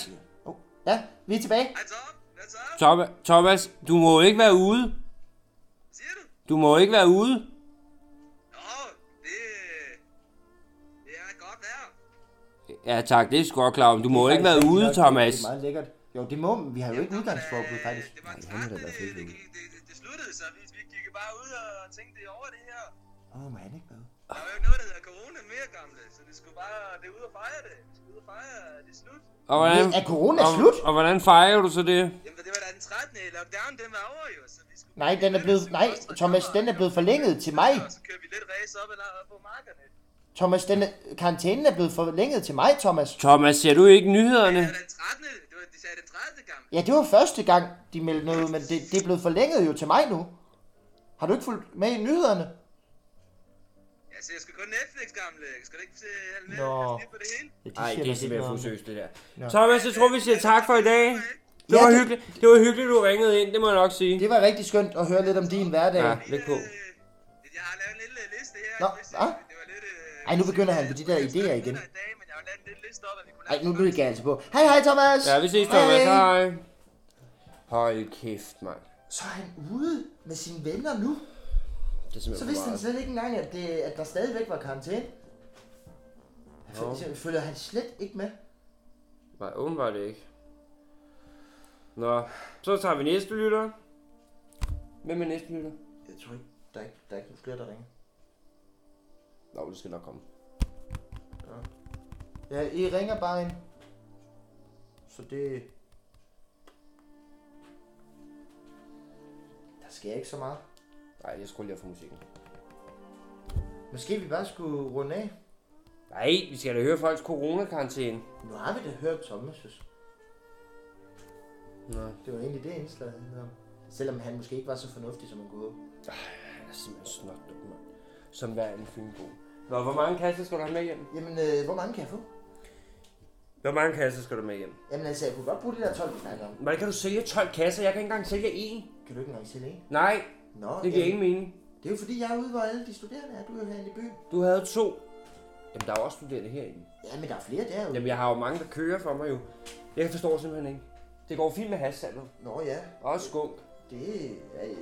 Oh. Ja, vi er tilbage.
Hej, Tom. Hvad så?
Thomas, Thomas, du må ikke være ude.
Hvad siger du?
Du må ikke være ude.
Nå, det... Det er godt vejr.
Ja tak, det er sgu godt klar om. Du må ikke være
Faktisk,
ude,
nok,
Thomas.
Det er meget lækkert. Jo, det må vi. har jo ikke
Jamen,
udgangsforbud,
øh,
faktisk.
Det var en snak, det, det, det, gik- det, det, det, sluttede, så vi, vi gik bare ud og tænkte over det her.
Åh, oh, må han ikke være ude?
Der var jo ikke noget, der hedder corona mere, gamle, så det skulle bare, det er ude at fejre det. Det er ude at fejre, at det er slut.
Og hvordan,
Er corona
og,
slut?
og hvordan fejrer du så det?
Jamen, det var da den 13. lockdown, den var over jo, så vi skulle...
Nej, den er blevet- nej, Thomas, den er blevet forlænget til maj.
Og så kører vi lidt race op eller op på markerne.
Thomas, den karantænen er blevet forlænget til mig, Thomas.
Thomas, ser du ikke nyhederne?
Det var den 13. Det var, de sagde den 30. gamle.
Ja, det var første gang, de meldte noget ud, men det, det er blevet forlænget jo til mig nu. Har du ikke fulgt med i nyhederne?
Ja, så jeg skal kun Netflix, gamle. Jeg skal da ikke se halv
Nå.
Jeg på det hele.
Nej, det er simpelthen
forsøg.
forsøgt, det der. Thomas, jeg tror, vi siger tak for i dag. Det
Ja,
var
det-
hyggeligt, det var hyggeligt du ringede ind, det må jeg nok sige.
Det var rigtig skønt at høre lidt om din hverdag.
Ja,
Ja.
lidt på.
Øh, Jeg har lavet en lille liste her.
Nå,
hvis-
hva?
det var lidt, øh,
Ej, nu begynder han på de der
jeg skulle
idéer
have
igen.
lyttet i dag, men jeg har lavet en lille liste op, at vi kunne
Ej,
lave
nu
en
lyder jeg altså på. Hej, hej Thomas!
Ja, vi ses, Thomas. Hej. Hold kæft, mand.
Så er han ude med sine venner nu.
Det er
Så
simpelthen
vidste
for
han
meget.
slet ikke engang, at, det, at der stadigvæk var karantæne.
Jo.
Så følger han slet ikke med.
Nej, åbenbart ikke. Nå, så tager vi næste lytter. Hvem er næste lytter?
Jeg tror ikke, der er ikke, der er ikke flere, der ringer.
Nå, det skal nok komme.
Ja, I ringer bare ind. Så det... Der sker ikke så meget.
Nej, jeg skulle lige have for musikken.
Måske vi bare skulle runde af.
Nej, vi skal da høre folks coronakarantæne.
Nu har vi da hørt Thomas'
Nå,
Det var egentlig det indslag, han havde om. Selvom han måske ikke var så fornuftig, som han kunne håbe.
jeg er simpelthen snot dum, mand. Som hver anden fynbo. Nå, hvor mange kasser skal du have med hjem?
Jamen, øh, hvor mange kan jeg få?
Hvor mange kasser skal du med hjem?
Jamen altså, jeg kunne godt bruge de der 12, vi snakker om.
Hvordan kan du sælge 12 kasser? Jeg kan ikke engang sælge én.
Kan du ikke engang sælge en?
Nej,
Nå,
det giver ingen mening.
det er jo fordi, jeg er ude, hvor alle de studerende er. Du er jo herinde i byen.
Du havde to. Jamen, der er jo også studerende herinde.
Ja, men der er flere derude.
Jamen, jeg har jo mange, der kører for mig jo. Jeg forstår simpelthen ikke. Det går fint med hassalget.
Nå ja,
Og skunk.
det er...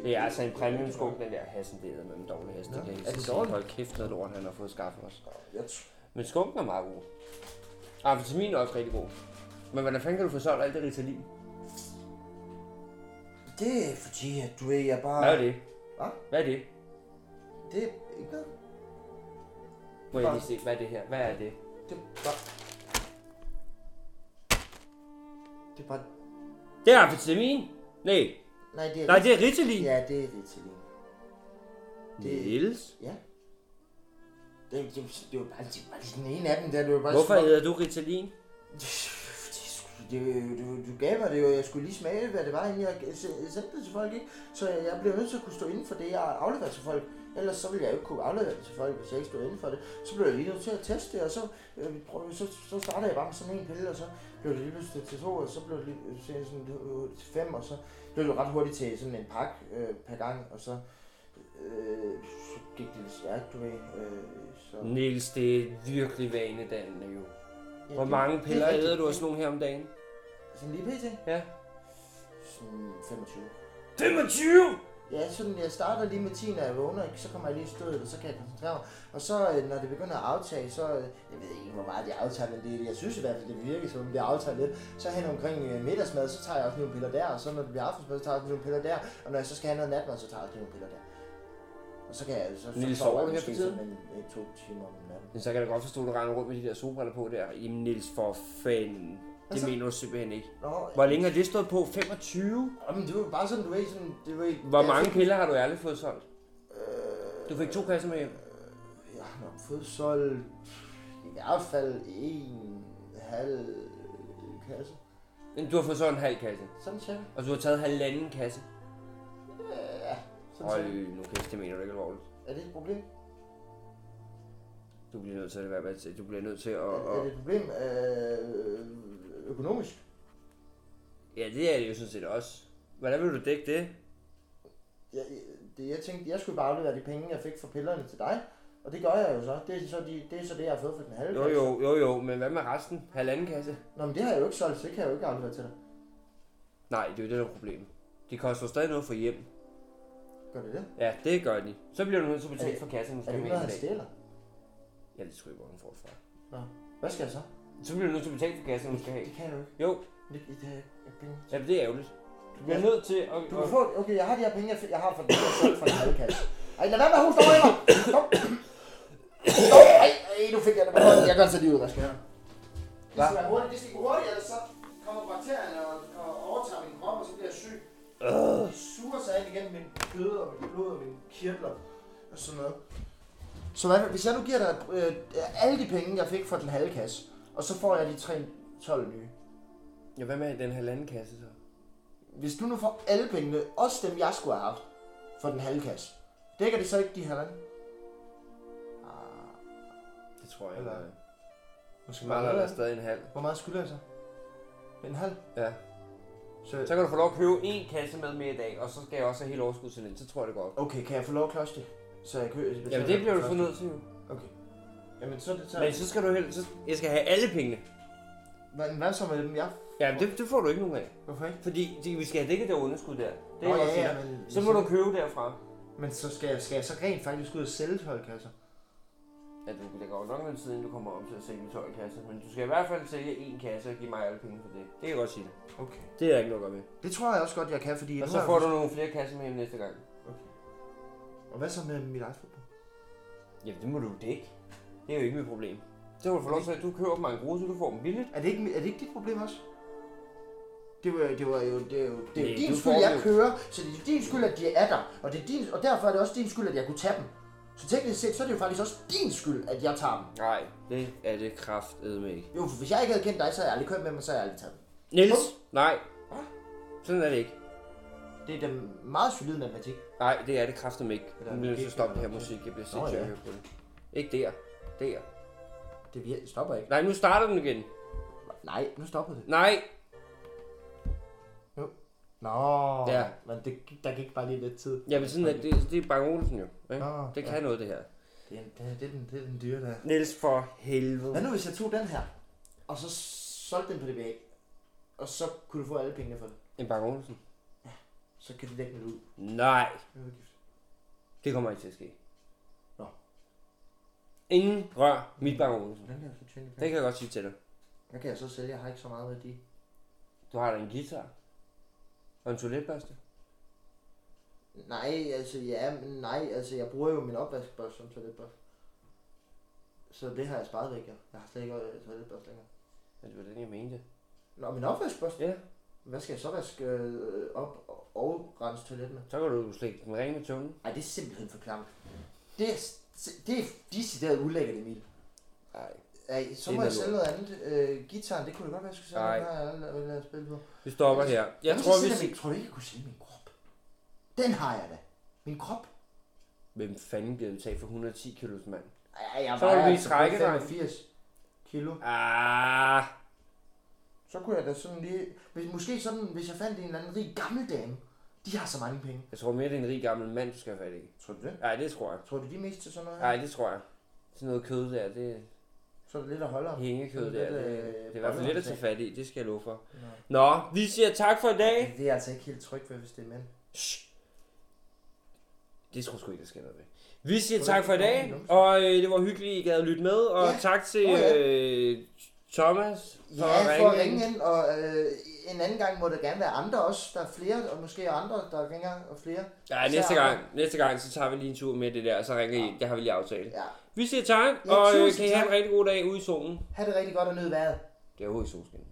Det er altså en premium skunk, den der hassen. Det er med en dårlig hast. Det kan jeg
er
ikke
den
sige.
dårlig?
Hold kæft, noget lort, han har fået skaffet os.
Jeg tr-
Men skunken er meget god. Amfetamin er også rigtig god. Men hvordan fanden kan du få solgt alt det Ritalin?
Det er fordi, at du er jeg bare...
Hvad er det?
Hvad?
Hvad er det?
Det er ikke noget.
Må jeg lige se, hvad er det her? Hvad er det?
Det er bare... Det er bare...
Det er amfetamin! Nej,
Nej, det er...
nej, det er Ritalin!
Ja, det er det til lige. det-
Niels?
Ja. Det, det, det var bare, det var bare lige den ene af dem der. Det var bare
Hvorfor
små-
hedder du Ritalin?
Det, du, du gav mig det jo, jeg skulle lige smage, hvad det var, inden jeg se- sendte det til folk, ikke? Så jeg, jeg blev nødt til at kunne stå inden for det, jeg afleverede til folk. Ellers så ville jeg jo ikke kunne aflevere det til folk, hvis jeg ikke stod inden for det. Så blev jeg lige nødt til at teste det, og så, øh, prøv, så, så startede jeg bare med sådan en pille, og så blev det lige pludselig til to, og så blev det lige til, sådan, øh, til fem, og så blev det jo ret hurtigt til sådan en pakke øh, per gang, og så, øh, så gik det lidt stærkt, du ved. Øh, så,
Niels, det er virkelig vanedannende jo.
Ja,
Hvor
det-
mange
det er
piller
rigtigt.
æder du af sådan nogle her om dagen?
Sådan lige pt.
Ja.
Sådan 25.
25!
Ja, sådan jeg starter lige med 10, når jeg vågner, ikke? så kommer jeg lige i stødet, og så kan jeg koncentrere mig. Og så øh, når det begynder at aftage, så, øh, jeg ved ikke hvor meget det aftager, men det, jeg synes i hvert fald, det virker som om det aftager lidt. Så hen omkring øh, middagsmad, så tager jeg også nogle piller der, og så når det bliver aftensmad, så tager jeg også nogle piller der, og når jeg så skal have noget natmad, så tager jeg også nogle piller der. Og så kan jeg så, så
Niels, sover
sover
du
jeg
her
måske
for tiden?
sådan en, øh, to timer om natten.
Men så kan jeg da godt forstå, at du render rundt med de der solbriller på der. Jamen Niels, for fanden. Det
så?
mener du simpelthen ikke.
Nå,
Hvor længe har det stået på? 25?
jamen, det var bare sådan, du ved, sådan, det var ikke...
Hvor
jeg
mange
fik-
piller har du ærligt fået solgt?
Øh.
Du fik to kasser med hjem.
Jeg har nok fået solgt i hvert fald en halv kasse.
Men Du har fået solgt en halv kasse.
Sådan cirka.
Og du har taget halvanden kasse.
Sådan
Hold
cirka.
nu kæft, det mener du ikke alvorligt.
Er det et problem?
Du bliver nødt til at være med til. Du bliver nødt til at...
Er, er
at...
det et problem øh, økonomisk?
Ja, det er det jo sådan set også. Hvordan vil du dække det?
Jeg, jeg- det, jeg tænkte, jeg skulle bare aflevere de penge, jeg fik fra pillerne til dig. Og det gør jeg jo så. Det er så, de, det, er så det, jeg har fået for den halve
Jo,
kasse.
jo, jo, jo. Men hvad med resten? Halvanden kasse?
Nå, men det har jeg jo ikke solgt, så det kan jeg jo ikke aflevere til dig.
Nej, det er jo det, der er problemet. Det koster jo stadig noget for hjem.
Gør det det?
Ja, det gør de. Så bliver du nødt til at
Er
betale
det-
for kassen, du
Er det
skal
ikke
med
noget,
i
han
dag.
stjæler?
Ja, det tror jeg, hvor hun får det fra.
Nå. Hvad skal jeg så?
Så bliver du nødt til at betale for kassen, du skal have.
Det kan jeg jo ikke.
Jo,
Det, det, det, det, det,
ja, det er ærgerligt. Du bliver nødt til at...
Du kan få, okay, jeg har de her penge, jeg, fik- jeg har fra den her selv fra en halvkasse. Ej, lad være med at huske over i mig. Stop. Stop. Ej, ej, nu fik jeg det. Jeg gør så lige ud, hvad skal jeg gøre? Det skal være hurtigt, det skal gå hurtigt, ellers så kommer bakterierne og, og overtager min krop, og så bliver jeg syg. De suger sig ind igennem min kød og min blod og mine kirtler og sådan noget. Så hvad, hvis jeg nu giver dig øh, alle de penge, jeg fik fra den halve kasse, og så får jeg de 3, 12 nye.
Ja, hvad med den halvanden kasse så?
Hvis du nu får alle pengene, også dem jeg skulle have haft, for den halve kasse, dækker det så ikke de halvanden?
Det tror jeg.
Eller-
Eller...
Måske
Smaller der stadig en halv.
Hvor meget skylder jeg så? En halv?
Ja.
Så...
Så kan du få lov at købe en kasse med mere i dag, og så skal jeg også have hele overskud til den. Så tror jeg, det går op.
Okay, kan jeg få lov at klods det? Så jeg køber... betaler
Jamen, det bliver du
først.
for nødt til jo.
Okay. Jamen, så er det... Så...
Men så skal du helt... Så jeg skal have alle pengene.
Men hvad så med dem? Jeg...
Ja, det, det får du ikke nogen af.
Hvorfor ikke?
Fordi de, vi skal have dækket det underskud der. Det er
Nå,
jeg
ja,
også
ja,
sikker.
men-
Så må du købe derfra.
Men så skal jeg, skal jeg så rent faktisk ud og sælge 12 kasser?
Ja, du, det går jo nok noget tid, inden du kommer om til at sælge 12 kasser. Men du skal i hvert fald sælge en kasse og give mig alle penge for det. Det kan jeg godt sige dig.
Okay.
Det er jeg ikke noget med.
Det tror jeg også godt, jeg kan, fordi...
Og
nu
så
har jeg
får du
faktisk-
nogle flere kasser med hjem næste gang.
Og hvad så med mit iPhone?
Jamen, det må du jo dække. Det er jo ikke mit problem. Så må du få lov til, at du køber dem af en gruppe, så du får dem billigt.
Er det ikke, er det ikke dit problem også? Det var, det var jo, det er jo, det er
Nej,
jo din
du
skyld,
får
jeg
det jo.
kører, så det er din skyld, at de er der, og, det er din, og derfor er det også din skyld, at jeg kunne tage dem. Så teknisk set, så er det jo faktisk også din skyld, at jeg tager dem.
Nej, det er det kraftedme ikke.
Jo, for hvis jeg ikke havde kendt dig, så havde jeg aldrig kørt med dem, og så havde jeg aldrig taget dem.
Niels! Nej. Sådan er det ikke.
Det er den meget solide matematik.
Nej, det er det kraftedme ikke.
Eller
Nu bliver jeg nødt til
logik
at stoppe det
eller
her
noget.
musik. Jeg bliver
Nå,
sindssygt
ja.
at høre på det. Ikke der. Der.
Det vir- stopper ikke.
Nej, nu starter den igen.
Nej, nu stoppede det.
Nej,
Jo. Nå,
Ja.
ja. men det, gik- der gik bare lige lidt tid.
jamen sådan, at det, det er Bang Olsen jo. Ikke?
Nå,
det kan
ja.
noget, det her.
Det, er, det, det, er den, det er den dyre der.
Niels for helvede.
Hvad nu, hvis jeg tog den her, og så solgte den på DBA, og så kunne du få alle pengene for den?
En Bang Olsen?
Så kan de lægge den ud.
Nej,
Det er jo gift.
det kommer ikke til at ske.
Nå.
Ingen rør mit Bang Olsen.
Den kan jeg så tjene
Det
penge.
kan jeg godt sige til dig.
Den kan jeg så sælge, jeg har ikke så meget værdi.
Du har da en guitar. Og en toiletbørste.
Nej, altså ja, men nej, altså jeg bruger jo min opvaskebørste som toiletbørste. Så det har jeg sparet væk, ja. Jeg har slet ikke øh, toiletbørste længere.
Ja, det var den, jeg mente.
Nå, min opvaskebørste?
Ja,
Hvad skal jeg så vaske øh, op og- og rense toilet med?
så kan du slække den ren med tungen.
Ej, det er simpelthen for klamt. Det er, s- det er decideret ulækkert, Emil.
Nej.
Ej, så
Det er
må jeg
noget
sælge noget andet. Øh, gitaren, det kunne det godt være, jeg skulle sælge.
Nej.
Den har jeg allerede lavet spille på.
Vi stopper her. Jeg
Jamen, så
tror,
sælger
vi...
jeg
sig-
Min, tror du ikke, jeg kunne sælge min krop? Den har jeg da. Min krop?
Hvem fanden bliver betalt for 110 kilos mand?
Ej, jeg
Så
vejer
vil vi
altså kun
trække dig.
85 kilo.
Ah,
Så kunne jeg da sådan lige... Hvis, måske sådan, hvis jeg fandt en eller anden rig gammel dame. De har så mange penge.
jeg tror mere, det er en rig gammel mand, du skal have fat i.
Tror du det?
Nej, det tror jeg.
Tror du, de er mest til sådan noget? her?
Nej, det tror jeg. Sådan noget kød der, det
Så er det lidt at holde om.
hængekød
Sådan
der,
lidt,
det,
øh,
det er i hvert fald lidt at tage
bolleomtag.
fat i, det skal jeg love for. Nå, vi siger tak for i dag.
Det er jeg altså ikke helt tryg ved, hvis det er mænd.
Shh. Det tror jeg sgu ikke, der sker noget ved. Vi siger tak for i dag, og øh, det var hyggeligt, I gad at lytte med, og
Ja.
tak til
Åh, ja.
øh, Thomas
Ja, for at ringe ind, og øh, en anden gang må der gerne være andre også. Der er flere, og måske andre, der ringer, og flere.
Ja, næste gang, næste gang, så tager vi lige en tur med det der, og så ringer I. ind. Det har vi lige aftalt.
Ja.
Vi siger tak,
Ja,
og øh,
tusind
kan I have
tak.
en rigtig god dag ude i solen.
Ha' det rigtig godt og nyd vejret.
Det er jo i solskin.